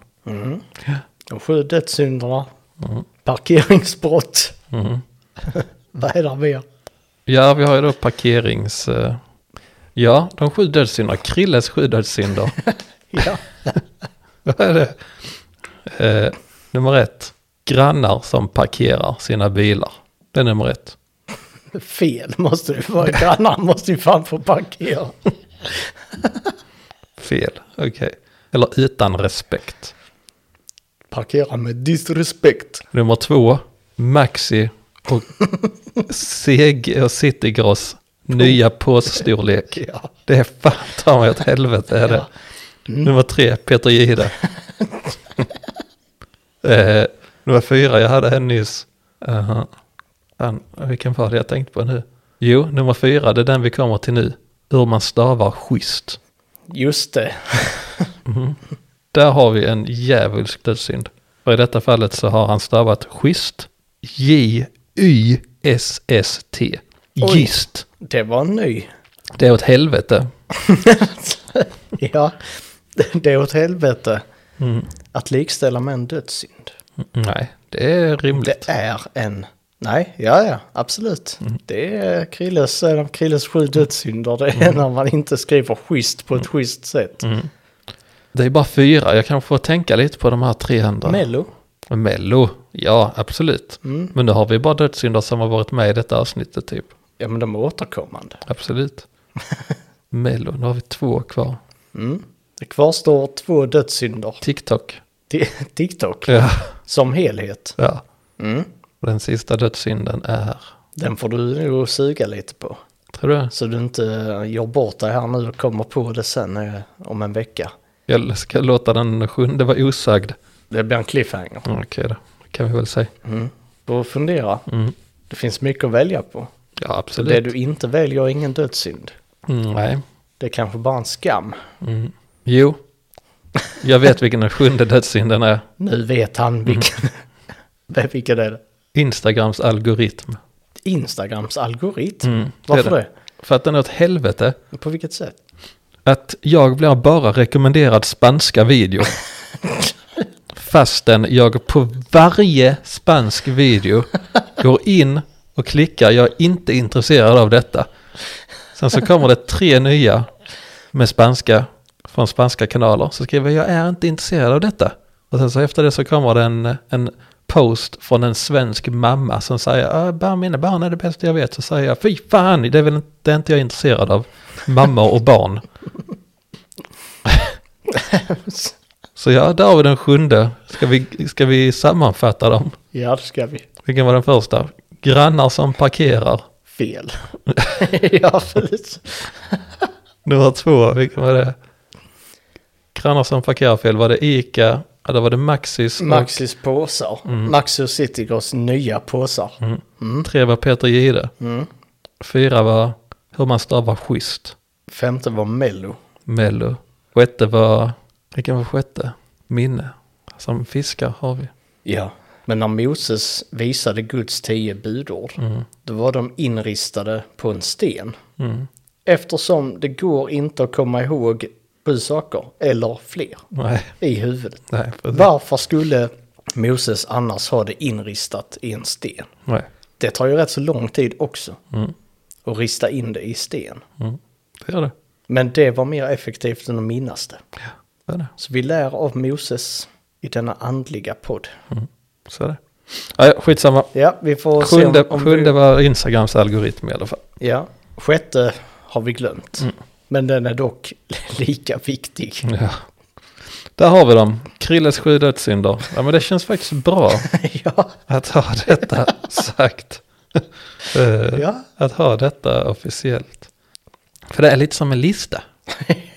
De sju dödssynderna. Mm. Parkeringsbrott. Vad är det mer?
Ja, vi har ju då parkerings... eh, Ja, de sju dödssynderna. Krilles sju dödssynder.
Ja.
Vad är det? Eh, nummer ett. Grannar som parkerar sina bilar. Det är nummer ett.
Fel måste det vara. Grannar måste ju fan få parkera.
Fel. Okej. Eller utan respekt.
Parkera med disrespekt.
Nummer två. Maxi och CG och Citygross. Nya påsstorlek.
Ja.
Det är fan ta mig åt helvete är det. Nummer tre, Peter Gide. eh, nummer fyra, jag hade en nyss. Aha. Fan, vilken var det jag tänkt på nu? Jo, nummer fyra, det är den vi kommer till nu. Hur man stavar schysst.
Just det.
Där har vi en djävulsk dödssynd. För i detta fallet så har han stavat schysst. J-Y-S-S-T.
Oj.
Gist.
Det var en ny.
Det är åt helvete.
ja. Det är åt helvete. Mm. Att likställa med en dödssynd.
Mm, Nej, det är rimligt.
Det är en... Nej, ja, ja, absolut. Det är Krilles, en av Krilles sju dödssynder. Det är när man inte skriver schysst på ett schysst sätt.
Det är bara fyra, jag kanske får tänka lite på de här tre andra.
Mm. Mello.
Mello, ja
Mm.
absolut. Men nu har vi bara dödssynder som har varit med i detta avsnittet typ.
Ja, men de är återkommande.
Absolut. Mello, nu har vi två kvar.
Mm. Det kvarstår två dödssynder.
TikTok.
Ti- TikTok
Ja.
som helhet. Mm.
ja. Den sista dödssynden är,
Den får du nog suga lite på.
tror du?
Så du inte eh, gör bort dig här nu och kommer på det sen eh, om en vecka.
Jag ska låta den sjunde vara osagd.
Det blir en cliffhanger.
Mm, Okej då, det kan vi väl säga. Mm.
Då fundera. Det finns mycket att välja på.
Ja
Så det
absolut.
du inte väljer är ingen dödssynd.
Mm, nej. Mm.
Det är kanske bara en skam.
Jo. Jag vet vilken den sjunde dödssynden är.
Nu vet
Mhm.
han vilken, mm. vilken är det?
Instagrams algoritm.
Instagrams algoritm.
Mm, det är
Varför det?
För att den är åt helvete.
På vilket sätt?
Att jag blir bara rekommenderad spanska videor. Fastän jag på varje spansk video går in och klickar, jag är inte intresserad av detta. Sen så kommer det tre nya med spanska, från spanska kanaler. Så skriver jag, jag är inte intresserad av detta. Och sen så efter det så kommer det en, en post från en svensk mamma som säger, "Ah, bara mina barn är det bästa jag vet. Så säger jag, fy fan, det är väl inte, det är inte jag intresserad av, mammor och barn. Så ja, där har vi den sjunde. Ska vi, ska vi sammanfatta dem?
ja, det ska vi.
Vilken var den första? Grannar som parkerar.
Fel. ja, precis.
Nummer två, vilken var det? Grannar som parkerar fel, var det Ica? Eller var det Maxis?
Maxis påsar.
Mm.
Maxi och Citygross nya påsar.
Och tre var Peter Gide. Fyra var hur man stavar schysst.
Femte var Mello.
Mello. Sjätte var, vilken var sjätte? Minne. Som fiskar har vi.
Ja. Men när Moses
Mm. Mm.
visade Guds tio budord, då var de inristade på en sten. Eftersom det går inte att komma ihåg sju saker eller fler
Nej,
i huvudet.
nej, precis.
Varför skulle Moses annars ha det inristat i en sten?
nej.
Det tar ju rätt så lång tid också
Mm.
att rista in det i sten.
Mm. Det är det.
Men det var mer effektivt än att minnas det.
det, är det.
Så vi lär av Moses i denna andliga podd.
Så är det. Ja, ja, skitsamma.
Ja, vi får
Sjunde,
se om, om
sjunde var Instagrams algoritm i alla fall.
vi... Ja, sjätte har vi glömt.
Mm.
Men den är dock lika viktig.
Ja. Där har vi dem. Krilles sju dödssynder. Ja, men det känns faktiskt bra
ja,
att ha detta sagt. Eh,
ja.
Att ha detta officiellt. För det är lite som en lista.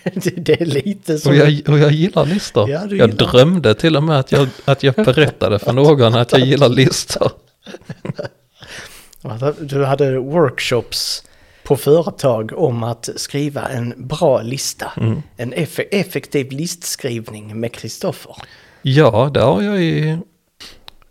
Det, det är lite
Och
som...
jag, och jag gillar listor.
Mm. Ja, du
jag
gillar.
drömde till och med att jag, att jag berättade för någon att jag gillar listor.
Du hade workshops på företag om att skriva en bra lista. En eff effektiv listskrivning med Kristoffer.
Ja, det har jag i,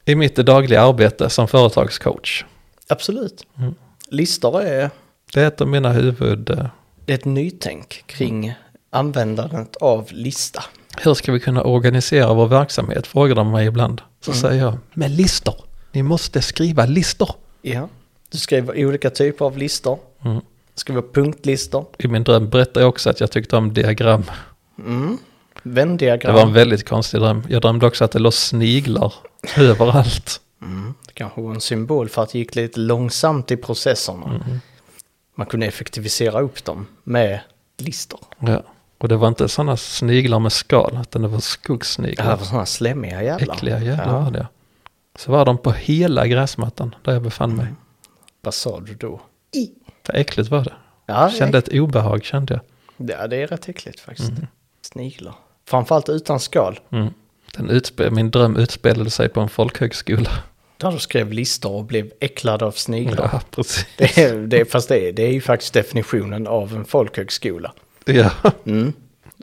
i mitt dagliga arbete som företagscoach.
Absolut. Mm. Listor är
Det är ett av mina huvud... eh,
det är ett nytänk kring användandet av lista.
Hur ska vi kunna organisera vår verksamhet? Frågar de mig ibland. Så
Mm.
säger jag, med listor. Ni måste skriva listor.
Ja. Du skriver olika typer av listor.
Mm.
Skriver punktlistor,
I min dröm berättade jag också att jag tyckte om diagram. Det
vändiagram.
var en väldigt konstig dröm. Jag drömde också att det låg sniglar överallt.
Det Mm. kanske var en symbol för att det gick lite långsamt i processerna. Man kunde effektivisera upp dem med listor.
Ja. Och det var inte sådana sniglar med skal, utan det var skuggsniglar.
Det här var sådana slemmiga jävlar.
Äckliga jävlar var det. Så var de på hela gräsmattan där jag befann
Mm.
mig.
Vad sa du då?
För äckligt var det.
Ja, det,
Kände Mm. ett obehag kände jag.
ja, det är rätt äckligt faktiskt. Sniglar. Framförallt utan skal.
Mm. Den utspe- min dröm utspelade sig på en folkhögskola.
Där du skrev listor och blev äcklad av sniglar.
Ja, precis.
Det är, det, är- fast det är, det är ju faktiskt definitionen av en folkhögskola.
Ja.
Mm.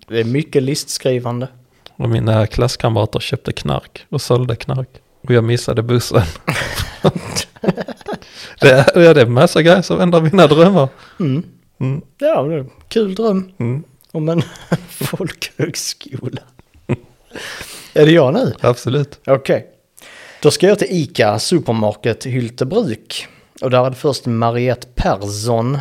Det är mycket listskrivande.
Och mina klasskamrater köpte knark och sålde knark. Och jag missade bussen. det, är, ja, det är massa grejer som ändrar mina drömmar.
Ja, det är en kul dröm
Mm.
om en folkhögskola. är det jag nu?
Absolut.
Okej. Då ska jag till ICA Supermarket Hyltebruk. Och där är det först Mariette Persson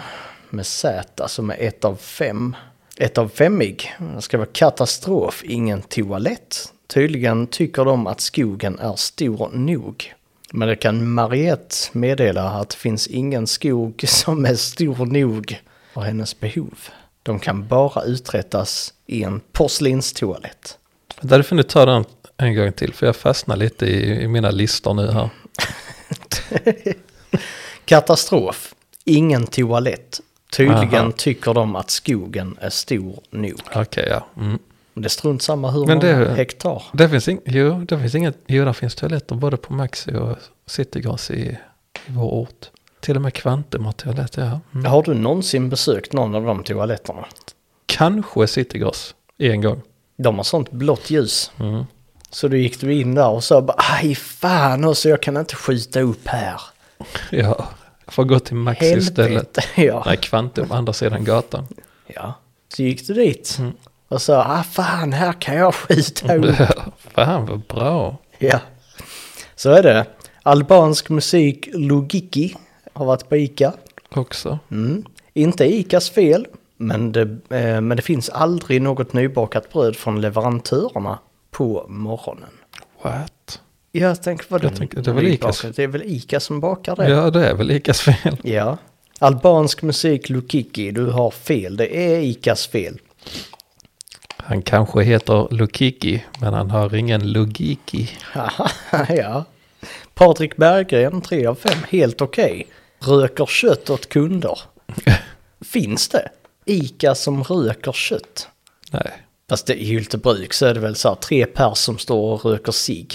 med Z som är ett av fem. Ett av femmig. Det ska vara katastrof, ingen toalett. Tydligen tycker de att skogen är stor nog. Men det kan Mariette meddela att det finns ingen skog som är stor nog för hennes behov. De kan bara uträttas i en porslinstoalett.
Där får ni ta den en gång till, för jag fastnar lite i, i mina listor nu här.
Katastrof. Ingen toalett. Tydligen
Aha.
tycker de att skogen är stor nog.
Okej, ja. Mm.
Men Det är strunt samma hur
Men
många
det-
hektar.
Det finns, ing- jo, det finns inget, jo, där finns toaletter både på Maxi och Citygas i, i vår ort. Till och med Kvantum har toalett, ja. Mm.
Har du någonsin besökt någon av de toaletterna?
Kanske Citygas, en gång.
De har sånt blått ljus.
Mm.
Så då gick du in där och sa bara aj fan också jag kan inte skjuta upp här.
Ja, jag får gå till Maxi istället.
Helvete. Ja.
Nej, Kvantum, andra sidan gatan.
ja. Så gick du dit
Mm.
och sa ah fan här kan jag skjuta upp.
Fan vad bra.
Ja, så är det. Albansk musik Logiki har varit på Ica.
Också.
Mm. Inte Icas fel, men det, eh, men det finns aldrig något nybakat bröd från leverantörerna på morgonen.
What?
Jag tänker vad
Jag tänker, det är väl Icas-
Det är väl Ica som bakar det?
Ja, det är väl Icas fel.
Ja. Albansk musik Logiki, du har fel. Det är Icas fel.
Han kanske heter Lukiki, men han har ingen logiki.
ja. Patrik Berggren, 3 av 5, helt okej. Röker kött åt kunder. Finns det? Ica som röker kött.
Nej.
Fast det, i Hyltebruk så är det väl så här tre pers som står och röker sig.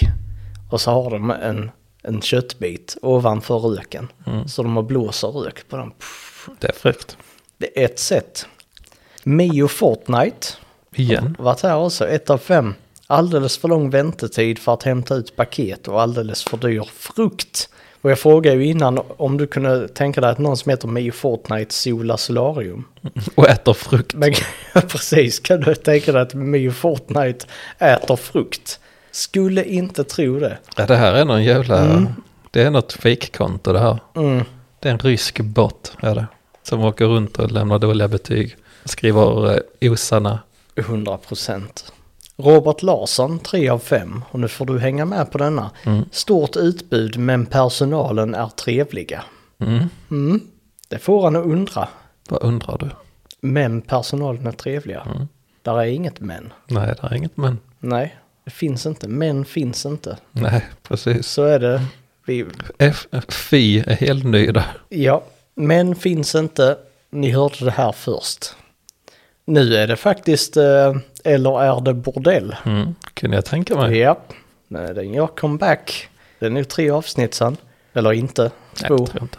Och så har de en, en köttbit ovanför röken. Så de har blåser rök på den. Pff,
Det är fräckt.
Det är ett sätt. Mio Fortnite
Igen.
varit här också, ett av fem. Alldeles för lång väntetid för att hämta ut paket och alldeles för dyr frukt. Och jag frågade ju innan om du kunde tänka dig att någon som heter Mio Fortnite solar solarium.
Och äter frukt.
Men precis, kan du tänka dig att Mio Fortnite äter frukt? Skulle inte tro det.
Ja, det här är någon jävla... Det är något fejkkonto det här.
Mm.
Det är en rysk bot, är det. Som åker runt och lämnar dåliga betyg. Skriver eh, osanna.
100 procent. Robert Larsson, 3 av 5. Och nu får du hänga med på denna. Stort utbud men personalen är trevliga.
Mm.
Mm. Det får han att undra.
Vad undrar du?
Men personalen är trevliga. Där är inget men.
Nej, det är inget men.
Nej, det finns inte. Men finns inte.
Nej, precis.
Så är det. Vi,
F- Fi är helt ny där.
ja, men finns inte. Ni hörde det här först. Nu är det faktiskt, eh, eller är det bordell?
Mm. Kunde jag tänka mig.
Ja, Nej, den gör comeback. Det är nu tre avsnitt sen. Eller inte,
Nej,
två.
det tror jag inte.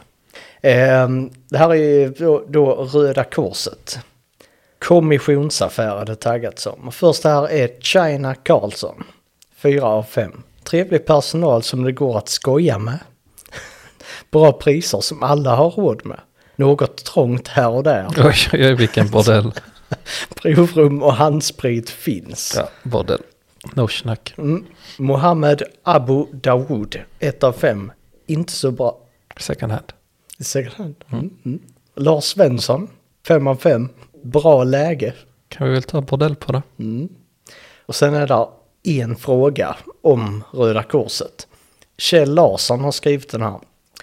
Ehm, det här är ju då, då Röda Korset. Kommissionsaffär är det taggat som. Och Först här är China Karlsson. fyra av fem Trevlig personal som det går att skoja med. Bra priser som alla har råd med. Något trångt här och där.
Oj, oj, oj, vilken bordell.
Provrum och handsprit finns.
Ja, bordell. No snack.
Mm. Mohammed Abu Dawood, 1 av 5. Inte så bra.
Second hand.
Second hand. Mm. Mm. Lars Svensson, 5 av 5. Bra läge. Mm.
Kan vi väl ta bordell på det?
Och sen är där en fråga om Röda Korset. Kjell Larsson har skrivit den här.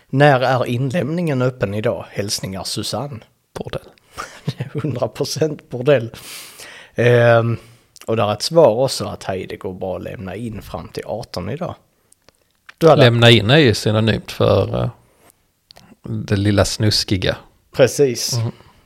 När är inlämningen öppen idag? Hälsningar Susanne.
Bordell.
100% bordell. Ehm, och där är ett svar också att hej, det går bra att lämna in fram till 18 idag. Du hade
Lämna in är ju synonymt för eh, det lilla snuskiga.
Precis.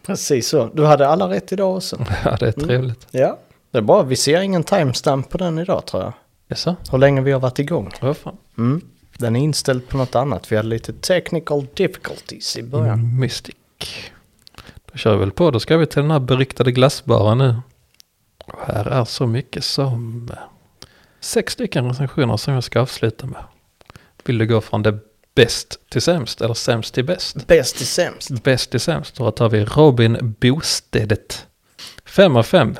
Precis så. Du hade alla rätt idag också.
Ja, det är trevligt.
Ja. Det är bara, vi ser ingen timestamp på den idag tror jag.
Jaså?
Hur länge vi har varit igång.
Vad fan?
Mm. Den är inställd på något annat. Vi hade lite technical difficulties i början.
Mystic. Mm, Då kör vi väl på. Då ska vi till den här beryktade glassbaren nu. Och här är så mycket som eh, sex stycken recensioner som jag ska avsluta med. Vill du gå från det bäst till sämst eller sämst till bäst?
Bäst till sämst.
Bäst till sämst. Då tar vi Robin Bostedet. 5 av 5.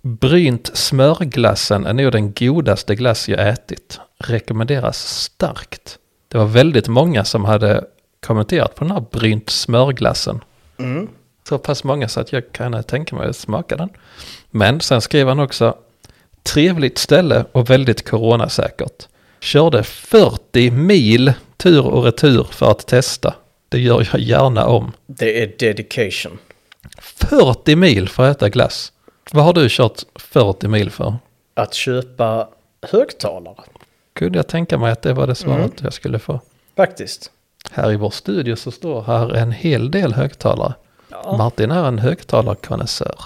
Brynt smörglassen är nog den godaste glass jag ätit. Rekommenderas starkt. Det var väldigt många som hade kommenterat på den här brynt smörglassen.
Mm.
Så pass många så att jag kan tänka mig att smaka den. Men sen skrev han också trevligt ställe och väldigt coronasäkert. Körde 40 mil tur och retur för att testa. Det gör jag gärna om.
Det är dedication.
40 mil för att äta glass. Vad har du kört 40 mil för?
Att köpa högtalare.
Kunde jag tänka mig att det var det svaret jag skulle få.
Faktiskt.
Här i vår studio så står här en hel del högtalare.
Ja.
Martin är en högtalarkonnässör.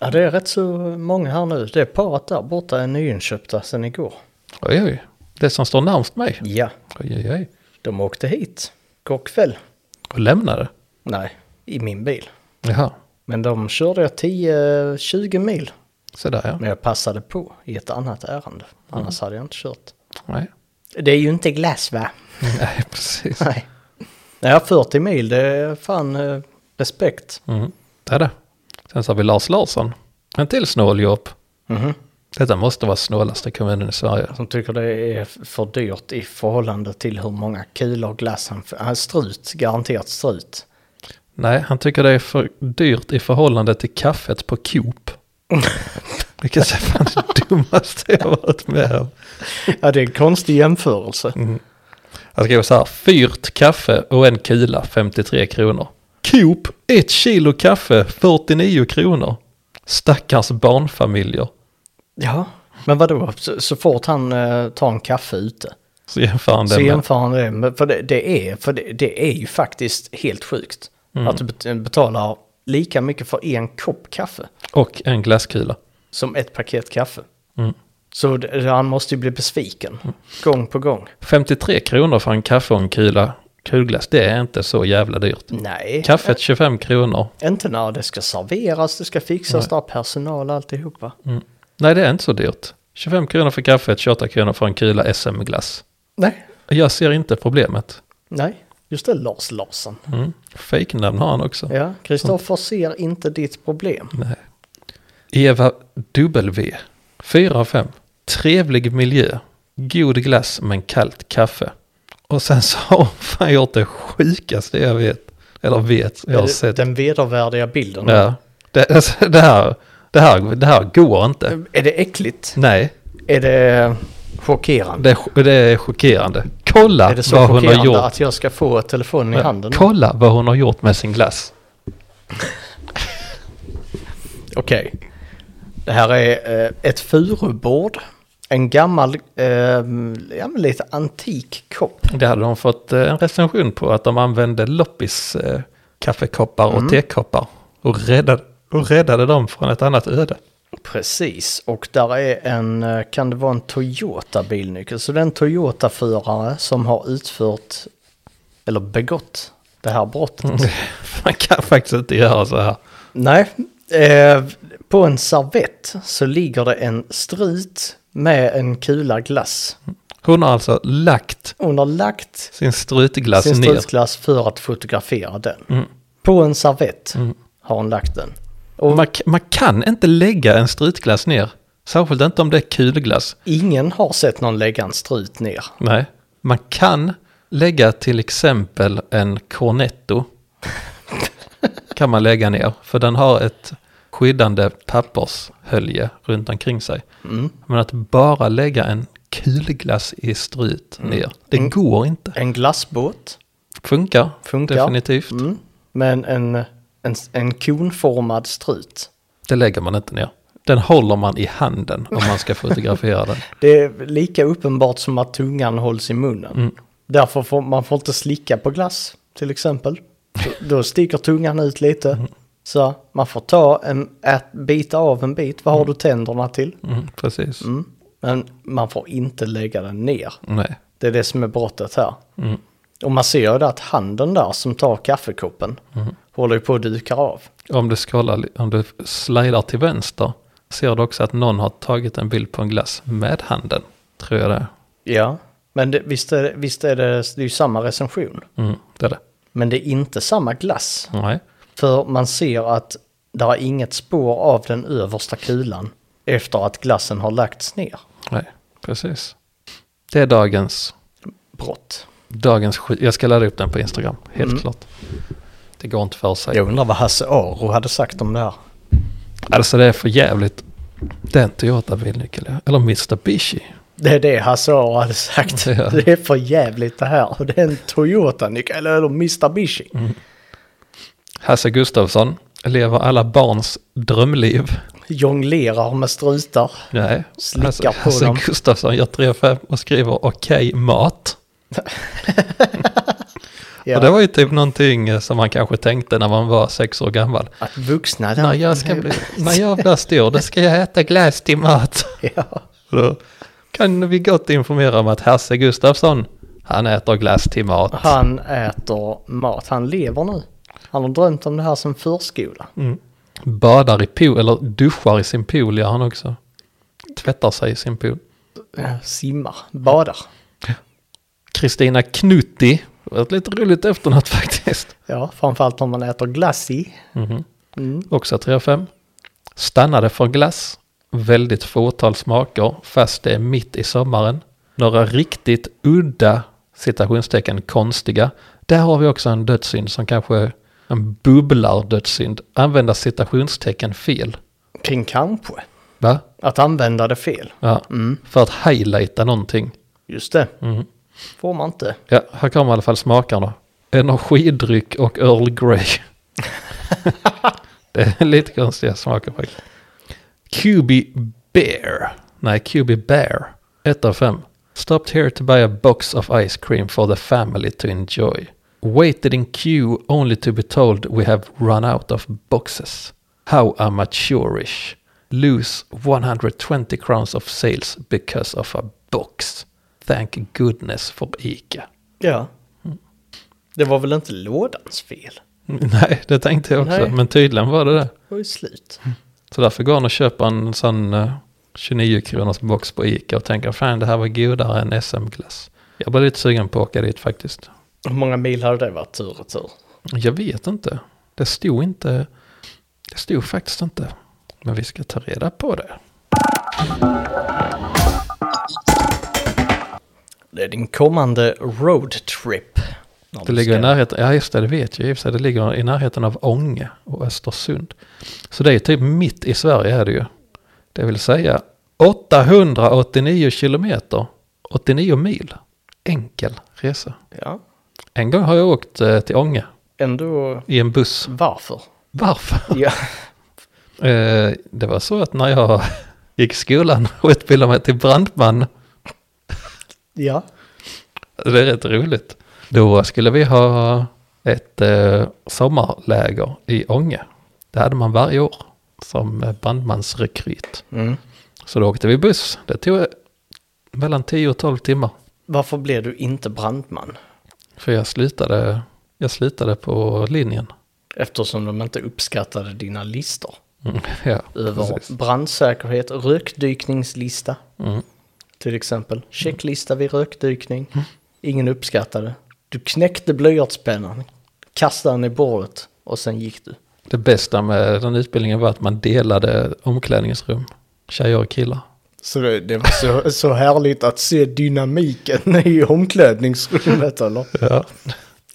ja, det är rätt så många här nu. Det paret där borta är nyinköpta sedan igår.
Oj, oj. Det som står närmst mig.
Ja,
Oj, oj, oj.
de åkte hit. Igår kväll.
Och lämnade.
Nej, i min bil.
Jaha,
Men de körde jag 10-20 mil.
så där ja.
Men jag passade på i ett annat ärende. Annars hade jag inte kört.
Nej,
Det är ju inte glass va?
Nej precis.
Nej. Nej, 40 mil det är fan eh, respekt.
Mm. Det är det. Sen så har vi Lars Larsson. En till snåljobb.
Mhm.
Detta måste vara snålaste kommunen i Sverige.
Som Alltså, tycker det är för dyrt i förhållande till hur många kulor glass han... Han är strut, garanterat strut.
Nej, han tycker det är för dyrt i förhållande till kaffet på Coop. Vilket är fan det dummaste jag har varit med om.
Ja, det är en konstig jämförelse.
Han skrev så här, fyrt kaffe och en kula 53 kronor. Coop, ett kilo kaffe 49 kronor. Stackars barnfamiljer.
Ja, men vadå? Så, så fort han eh, tar en kaffe ute
Så jämför han
så
det med,
jämför han det med... För det, det är, för det, det är ju faktiskt helt sjukt. Att du bet- betalar lika mycket för en kopp kaffe
och en glasskula.
som ett paket kaffe.
Mm.
Så det, han måste ju bli besviken gång på gång.
53 kronor för en kaffe och en kula kulglass, det är inte så jävla dyrt.
Nej,
Kaffet 25 kronor.
inte när det ska serveras, det ska fixas, där är personal och alltihopa.
Nej, det är inte så dyrt. 25 kronor för kaffet, 28 kronor för en kula SM-glass.
Nej.
Jag ser inte problemet.
Nej, just det, Lars Larsson.
Mm. Fejknamn har han också.
Ja,
Mm.
Kristoffer ser inte ditt problem.
Nej. Eva W. 4 av 5. Trevlig miljö. God glass men kallt kaffe. Och sen så har hon fan gjort det sjukaste jag vet. Eller vet, jag har
Det-
sett.
Den vedervärdiga bilden.
Ja. Det, alltså, det, här, det, här, det här går inte.
Är det äckligt?
Nej,
Är det chockerande?
det, är ch- det är chockerande. Kolla
är det så
vad hon har
chockerande
gjort.
att jag ska få telefonen i handen? Okej.
Kolla vad hon har gjort med sin glass.
Det här är eh, ett furubord. En gammal, eh, ja, men lite antik kopp.
Det hade de fått eh, en recension på att de använde loppis eh, kaffekoppar och
Mm.
tekoppar och räddade, och räddade dem från ett annat öde.
Precis, och där är en, eh, kan det vara en Toyota bilnyckel? Så det är en Toyota-förare som har utfört, eller begått, det här brottet.
Mm. Man kan faktiskt inte göra så här.
Nej, eh, på en servett så ligger det en strut med en kula glass.
Hon har alltså lagt
Hon har lagt
sin strutglass
sin
Alltså ner.
strutsglass för att fotografera den. På en servett har hon lagt den.
Och man, k- man kan inte lägga en strutglass ner. Särskilt inte om det är kulglass.
Ingen har sett någon lägga en strut ner.
Nej. Man kan lägga till exempel en cornetto. kan man lägga ner. För den har ett skyddande pappershölje runt omkring sig.
Mm.
Men att bara lägga en kulglass i strut
Mm.
ner. Det går inte.
En glassbåt,
Funkar.
Funkar.
Definitivt.
mm. men en, en, en konformad strut.
Det lägger man inte ner. Den håller man i handen om man ska fotografera den.
Det är lika uppenbart som att tungan hålls i munnen. Därför får man får inte slicka på glass till exempel. Så, då sticker tungan ut lite. Så man får ta en, ät, bita av en bit. Vad har du tänderna till?
Mm, precis.
Mm. Men man får inte lägga den ner.
Nej.
Det är det som är brottet här. Och man ser ju det att handen där som tar kaffekoppen håller ju på att duka av.
Om du scrollar, li- om du slidar till vänster ser du också att någon har tagit en bild på en glass med handen. Tror jag det är.
Ja, men det, visst, är, det- visst är det, det är ju samma recension.
Mm, det är det.
Men det är inte samma glass.
Nej.
För man ser att det är inget spår av den översta kulan efter att glassen har lagts ner.
Nej, precis. Det är dagens,
Brott.
dagens skit. Jag ska ladda upp den på Instagram, helt
Mm.
klart. Det går inte för sig.
Jag undrar vad Hasse Aro hade sagt om det här.
Alltså det är för jävligt. Den Toyota bilnyckel, ja. eller Mitsubishi.
Det är det Hasse Aro hade sagt.
Ja.
Det är för jävligt det här. Och det är en Toyota, Nick, eller eller Mitsubishi.
Hasse Gustafsson lever alla barns drömliv.
Jonglerar med strutar.
Nej,
Slickar
Hasse,
på
Hasse
dem.
Gustafsson gör 3-5 och skriver okej mat.
Ja.
Och det var ju typ någonting eh, som man kanske tänkte när man var sex år gammal.
Att vuxna
När jag, ska bli, när jag blir stor, då ska jag äta glass till mat.
Ja.
Och Då kan vi gott informera om att Hasse Gustafsson, han äter glass till mat.
Han äter mat. Han lever nu. Han har drömt om det här som förskola.
Badar i pool, eller duschar i sin pool gör han också. Tvättar sig i sin pool. Mm.
Eh, Simmar, badar.
Kristina Knutti, det var ett lite roligt efternamn faktiskt.
Ja, framförallt om man äter glass i.
Också 3 av 5. Stannade för glass. Väldigt fåtal smaker, fast det är mitt i sommaren. Några riktigt udda, citationstecken, konstiga. Där har vi också en dödssynd som kanske en bubblardödssynd. Använda citationstecken fel.
Kring kanske.
Va?
Att använda det fel.
Ja. För att highlighta någonting.
Just det.
Mm.
Får man inte.
Ja, här kommer i alla fall smakerna. Energidryck och Earl Grey. det är lite konstiga smaker faktiskt. QB Bear. Nej, QB Bear. 1 av 5. Stopped here to buy a box of ice cream for the family to enjoy. Waited in queue only to be told we have run out of boxes. How amateurish. Lose 120 crowns of sales because of a box. Thank goodness for ICA.
Ja.
Mm.
Det var väl inte lådans fel?
Nej, det tänkte jag också.
Nej.
Men tydligen var det det.
Det var ju slut.
Mm. Så därför går han och köper en sån eh, 29 kronors box på Ica och tänker fan det här var godare än SM-glass. Jag blev lite sugen på att åka dit faktiskt.
Hur många mil hade det varit tur och tur?
Jag vet inte. Det stod inte. Det stod faktiskt inte. Men vi ska ta reda på det.
Det är din kommande roadtrip. När
Det
du
ligger i
ska-
närheten, ja just det, det vet jag i och för sig. Det ligger i närheten av Ånge och Östersund. Så det är typ mitt i Sverige är det ju. Det vill säga 889 kilometer, 89 mil. Enkel resa.
Ja,
En gång har jag åkt eh, till Ånge
ändå
i en buss.
varför?
Varför?
Ja,
Eh, det var så att när jag gick i skolan och utbildade mig till brandman
ja.
Det är rätt roligt. Då skulle vi ha ett eh, sommarläger i Ånge. Det hade man varje år som eh, brandmansrekryt.
Mm.
Så då åkte vi buss. Det tog eh, mellan 10 och 12 timmar.
Varför blev du inte brandman?
För jag slutade, jag slutade på linjen.
Eftersom de inte uppskattade dina listor.
Mm, ja,
Över
precis.
brandsäkerhet, rökdykningslista
Mm.
till exempel. Checklista vid rökdykning. Ingen uppskattade. Du knäckte blyertspennan, kastade den i bordet och sen gick du.
Det bästa med den utbildningen var att man delade omklädningsrum. Tjejer och killar.
Så det, det var så, så härligt att se dynamiken i omklädningsrummet eller?
Ja.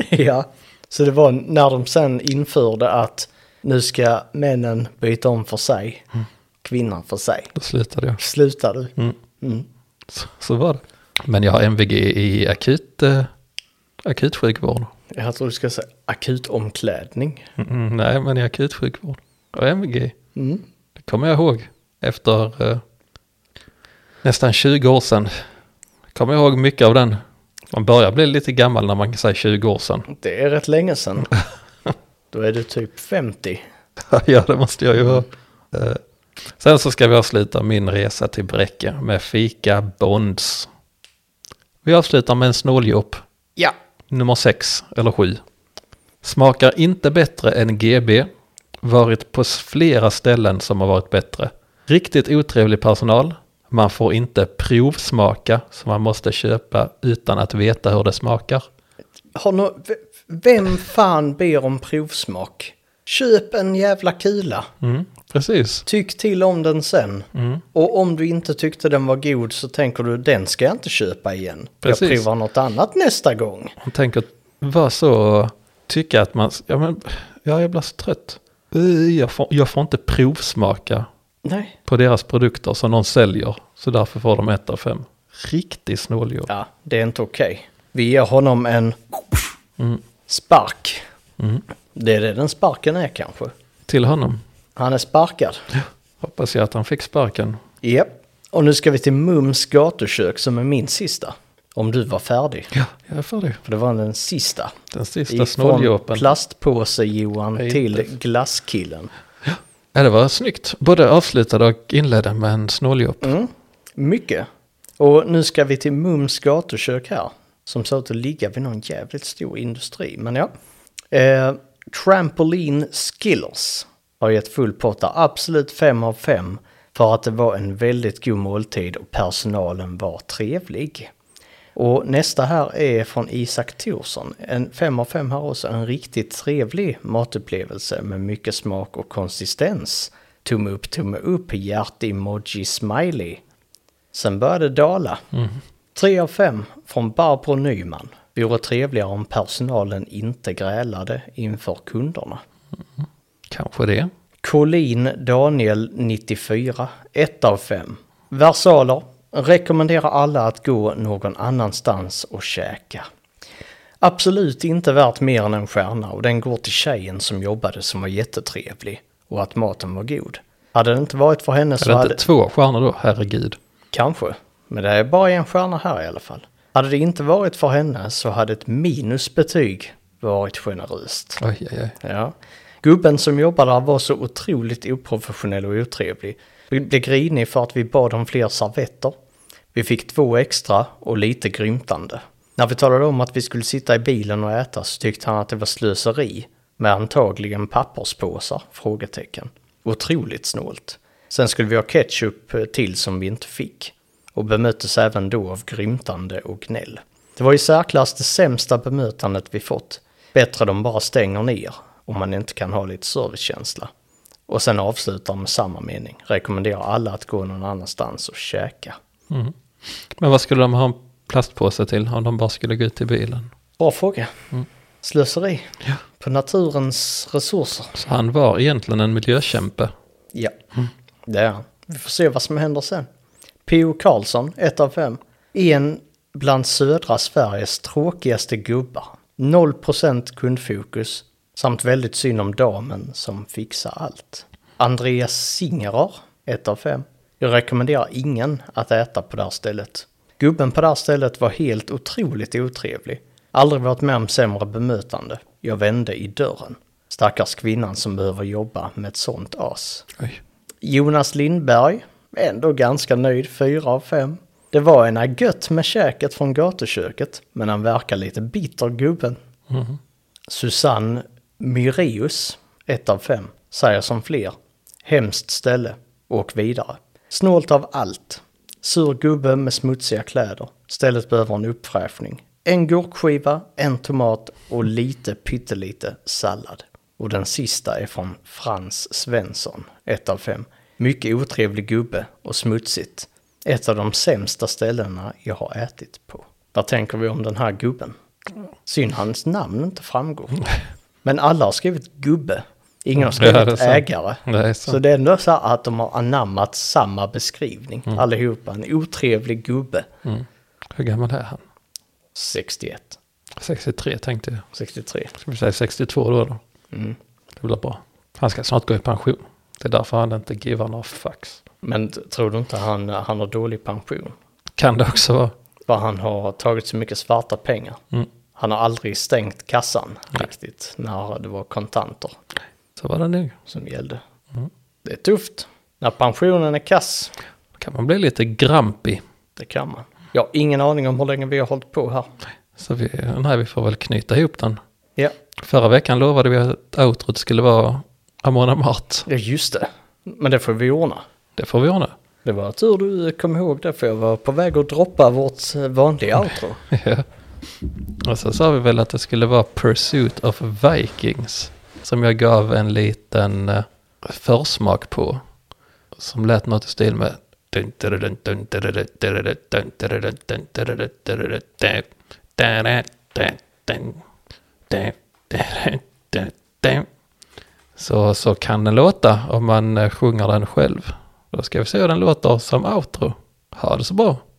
Ja, så det var när de sen införde att nu ska männen byta om för sig, kvinnan för sig.
Då slutade jag.
Slutar du? Mm.
Så, så var det. Men jag har MVG i akut, eh, akutsjukvård.
Jag tror du ska säga akut omklädning.
Mm, nej, men i akutsjukvård. Och MVG. Det kommer jag ihåg. Efter eh, nästan 20 år sedan. Kommer jag ihåg mycket av den. Man börjar bli lite gammal när man kan säga 20 år sedan.
Det är rätt länge sedan. Då är du typ 50.
ja, det måste jag ju vara. Eh, sen så ska vi avsluta min resa till Bräcke med fika Bonds. Vi avslutar med en snåljåp.
Ja.
nummer 6 eller 7. Smakar inte bättre än GB. Varit på flera ställen som har varit bättre. Riktigt otrevlig personal. Man får inte provsmaka så man måste köpa utan att veta hur det smakar.
Har nå- v- vem fan ber om provsmak? Köp en jävla kula.
Mm, precis.
Tyck till om den sen. Och om du inte tyckte den var god så tänker du den ska jag inte köpa igen.
Precis.
Jag provar något annat nästa gång.
Man tänker vara så tycka att man, ja men ja, jag blir så trött. Eh, Jag får, jag får inte provsmaka
Nej.
på deras produkter som någon säljer. Så därför får de 1 av 5. Riktig snåljåp.
Ja, det är inte okej. Vi ger honom en spark. Det är det den sparken är kanske.
Till honom.
Han är sparkad.
Hoppas jag att han fick sparken.
Japp. Och nu ska vi till Mums gatukök som är min sista. Om du var färdig.
Ja, jag är färdig.
För det var den sista.
Den sista
Ifrån
snåljåpen.
plastpåse-Johan
Nej,
till
inte.
glasskillen.
Ja, det var snyggt. Både avslutade och inledde med en snåljåp.
Mm. Mycket. Och nu ska vi till Mums gatukök här. Som ser ut att ligga vid någon jävligt stor industri, men ja. Eh, Trampoline Skillers har gett full potta, absolut 5 av 5. För att det var en väldigt god måltid och personalen var trevlig. Och nästa här är från Isak Thorsson. En 5 av 5 här också. En riktigt trevlig matupplevelse med mycket smak och konsistens. Tumme upp, tumme upp, hjärt-emoji smiley. Sen började det dala. Tre av fem från Barbro Nyman. Vore trevligare om personalen inte grälade inför kunderna.
Kanske det.
Colin Daniel 94, 1 av 5. Versaler rekommenderar alla att gå någon annanstans och käka. Absolut inte värt mer än en stjärna och den går till tjejen som jobbade som var jättetrevlig och att maten var god. Hade det inte varit för henne så
Är det
hade...
inte två stjärnor då? Herregud.
Kanske, men det är bara en stjärna här i alla fall. Hade det inte varit för henne så hade ett minusbetyg varit generöst.
Oj, oj, oj.
Ja. Gubben som jobbade där var så otroligt oprofessionell och otrevlig. Vi blev grinig för att vi bad om fler servetter. Vi fick två extra och lite grymtande. När vi talade om att vi skulle sitta i bilen och äta så tyckte han att det var slöseri med antagligen papperspåsar? Frågetecken. Otroligt snålt. Sen skulle vi ha ketchup eh, till som vi inte fick och bemöttes även då av grymtande och gnäll. Det var i särklass det sämsta bemötandet vi fått. Bättre de bara stänger ner om man inte kan ha lite servicekänsla. Och sen avslutar med samma mening. Rekommenderar alla att gå någon annanstans och käka.
Mm. Men vad skulle de ha en plastpåse till om de bara skulle gå ut i bilen?
Bra fråga.
Mm.
Slöseri
Ja.
på naturens resurser.
Så han var egentligen en miljökämpe.
Ja, det är han. Vi får se vad som händer sen. P.O. Karlsson, 1 av 5. En bland södra Sveriges tråkigaste gubbar. 0% kundfokus samt väldigt synd om damen som fixar allt. Andreas Singerer, 1 av 5. Jag rekommenderar ingen att äta på det här stället. Gubben på det här stället var helt otroligt otrevlig. Aldrig varit med om sämre bemötande. Jag vände i dörren. Stackars kvinnan som behöver jobba med ett sånt as.
Oj.
Jonas Lindberg, ändå ganska nöjd, 4 av 5. Det var ena gött med käket från gatuköket, men han verkar lite bitter gubben. Susanne Myreus, 1 av 5, säger som fler. Hemskt ställe, åk vidare. Snålt av allt. Sur gubbe med smutsiga kläder. Stället behöver en uppfräschning. En gurkskiva, en tomat och lite pyttelite sallad. Och den sista är från Frans Svensson, 1 av 5. Mycket otrevlig gubbe och smutsigt. Ett av de sämsta ställena jag har ätit på. Vad tänker vi om den här gubben? Synd hans namn inte framgår. Men alla har skrivit gubbe. Ingen har
Ja,
skrivit
det är sant.
ägare.
Det är
så.
sant.
det är ändå så här att de har anammat samma beskrivning
Mm.
allihopa. En otrevlig gubbe.
Hur gammal är han?
61,
63 tänkte jag.
63.
Ska vi säga 62 då? då?
Mm.
Det blir bra. Han ska snart gå i pension. Det är därför han inte givar några fax.
Men t- tror du inte han, han har dålig pension?
Kan det också vara.
För han har tagit så mycket svarta pengar.
Mm.
Han har aldrig stängt kassan riktigt när det var kontanter
Så var det nu.
som gällde. Det är tufft. När pensionen är kass,
Då kan man bli lite grampig.
det kan man. Jag har ingen aning om hur länge vi har hållit på här.
Så vi, nej, vi får väl knyta ihop den.
Ja,
Förra veckan lovade vi att outrot skulle vara Amona Mart.
ja just det. Men det får vi ordna.
Det får vi ordna.
Det var tur du kom ihåg det, för jag var på väg att droppa vårt eh, vanliga outro.
Ja. Och så sa vi väl att det skulle vara Pursuit of Vikings. Som jag gav en liten eh, försmak på. Som lät något i stil med... Så, så kan den låta om man eh, sjunger den själv. Då ska vi se hur den låter som outro. Ha det så bra.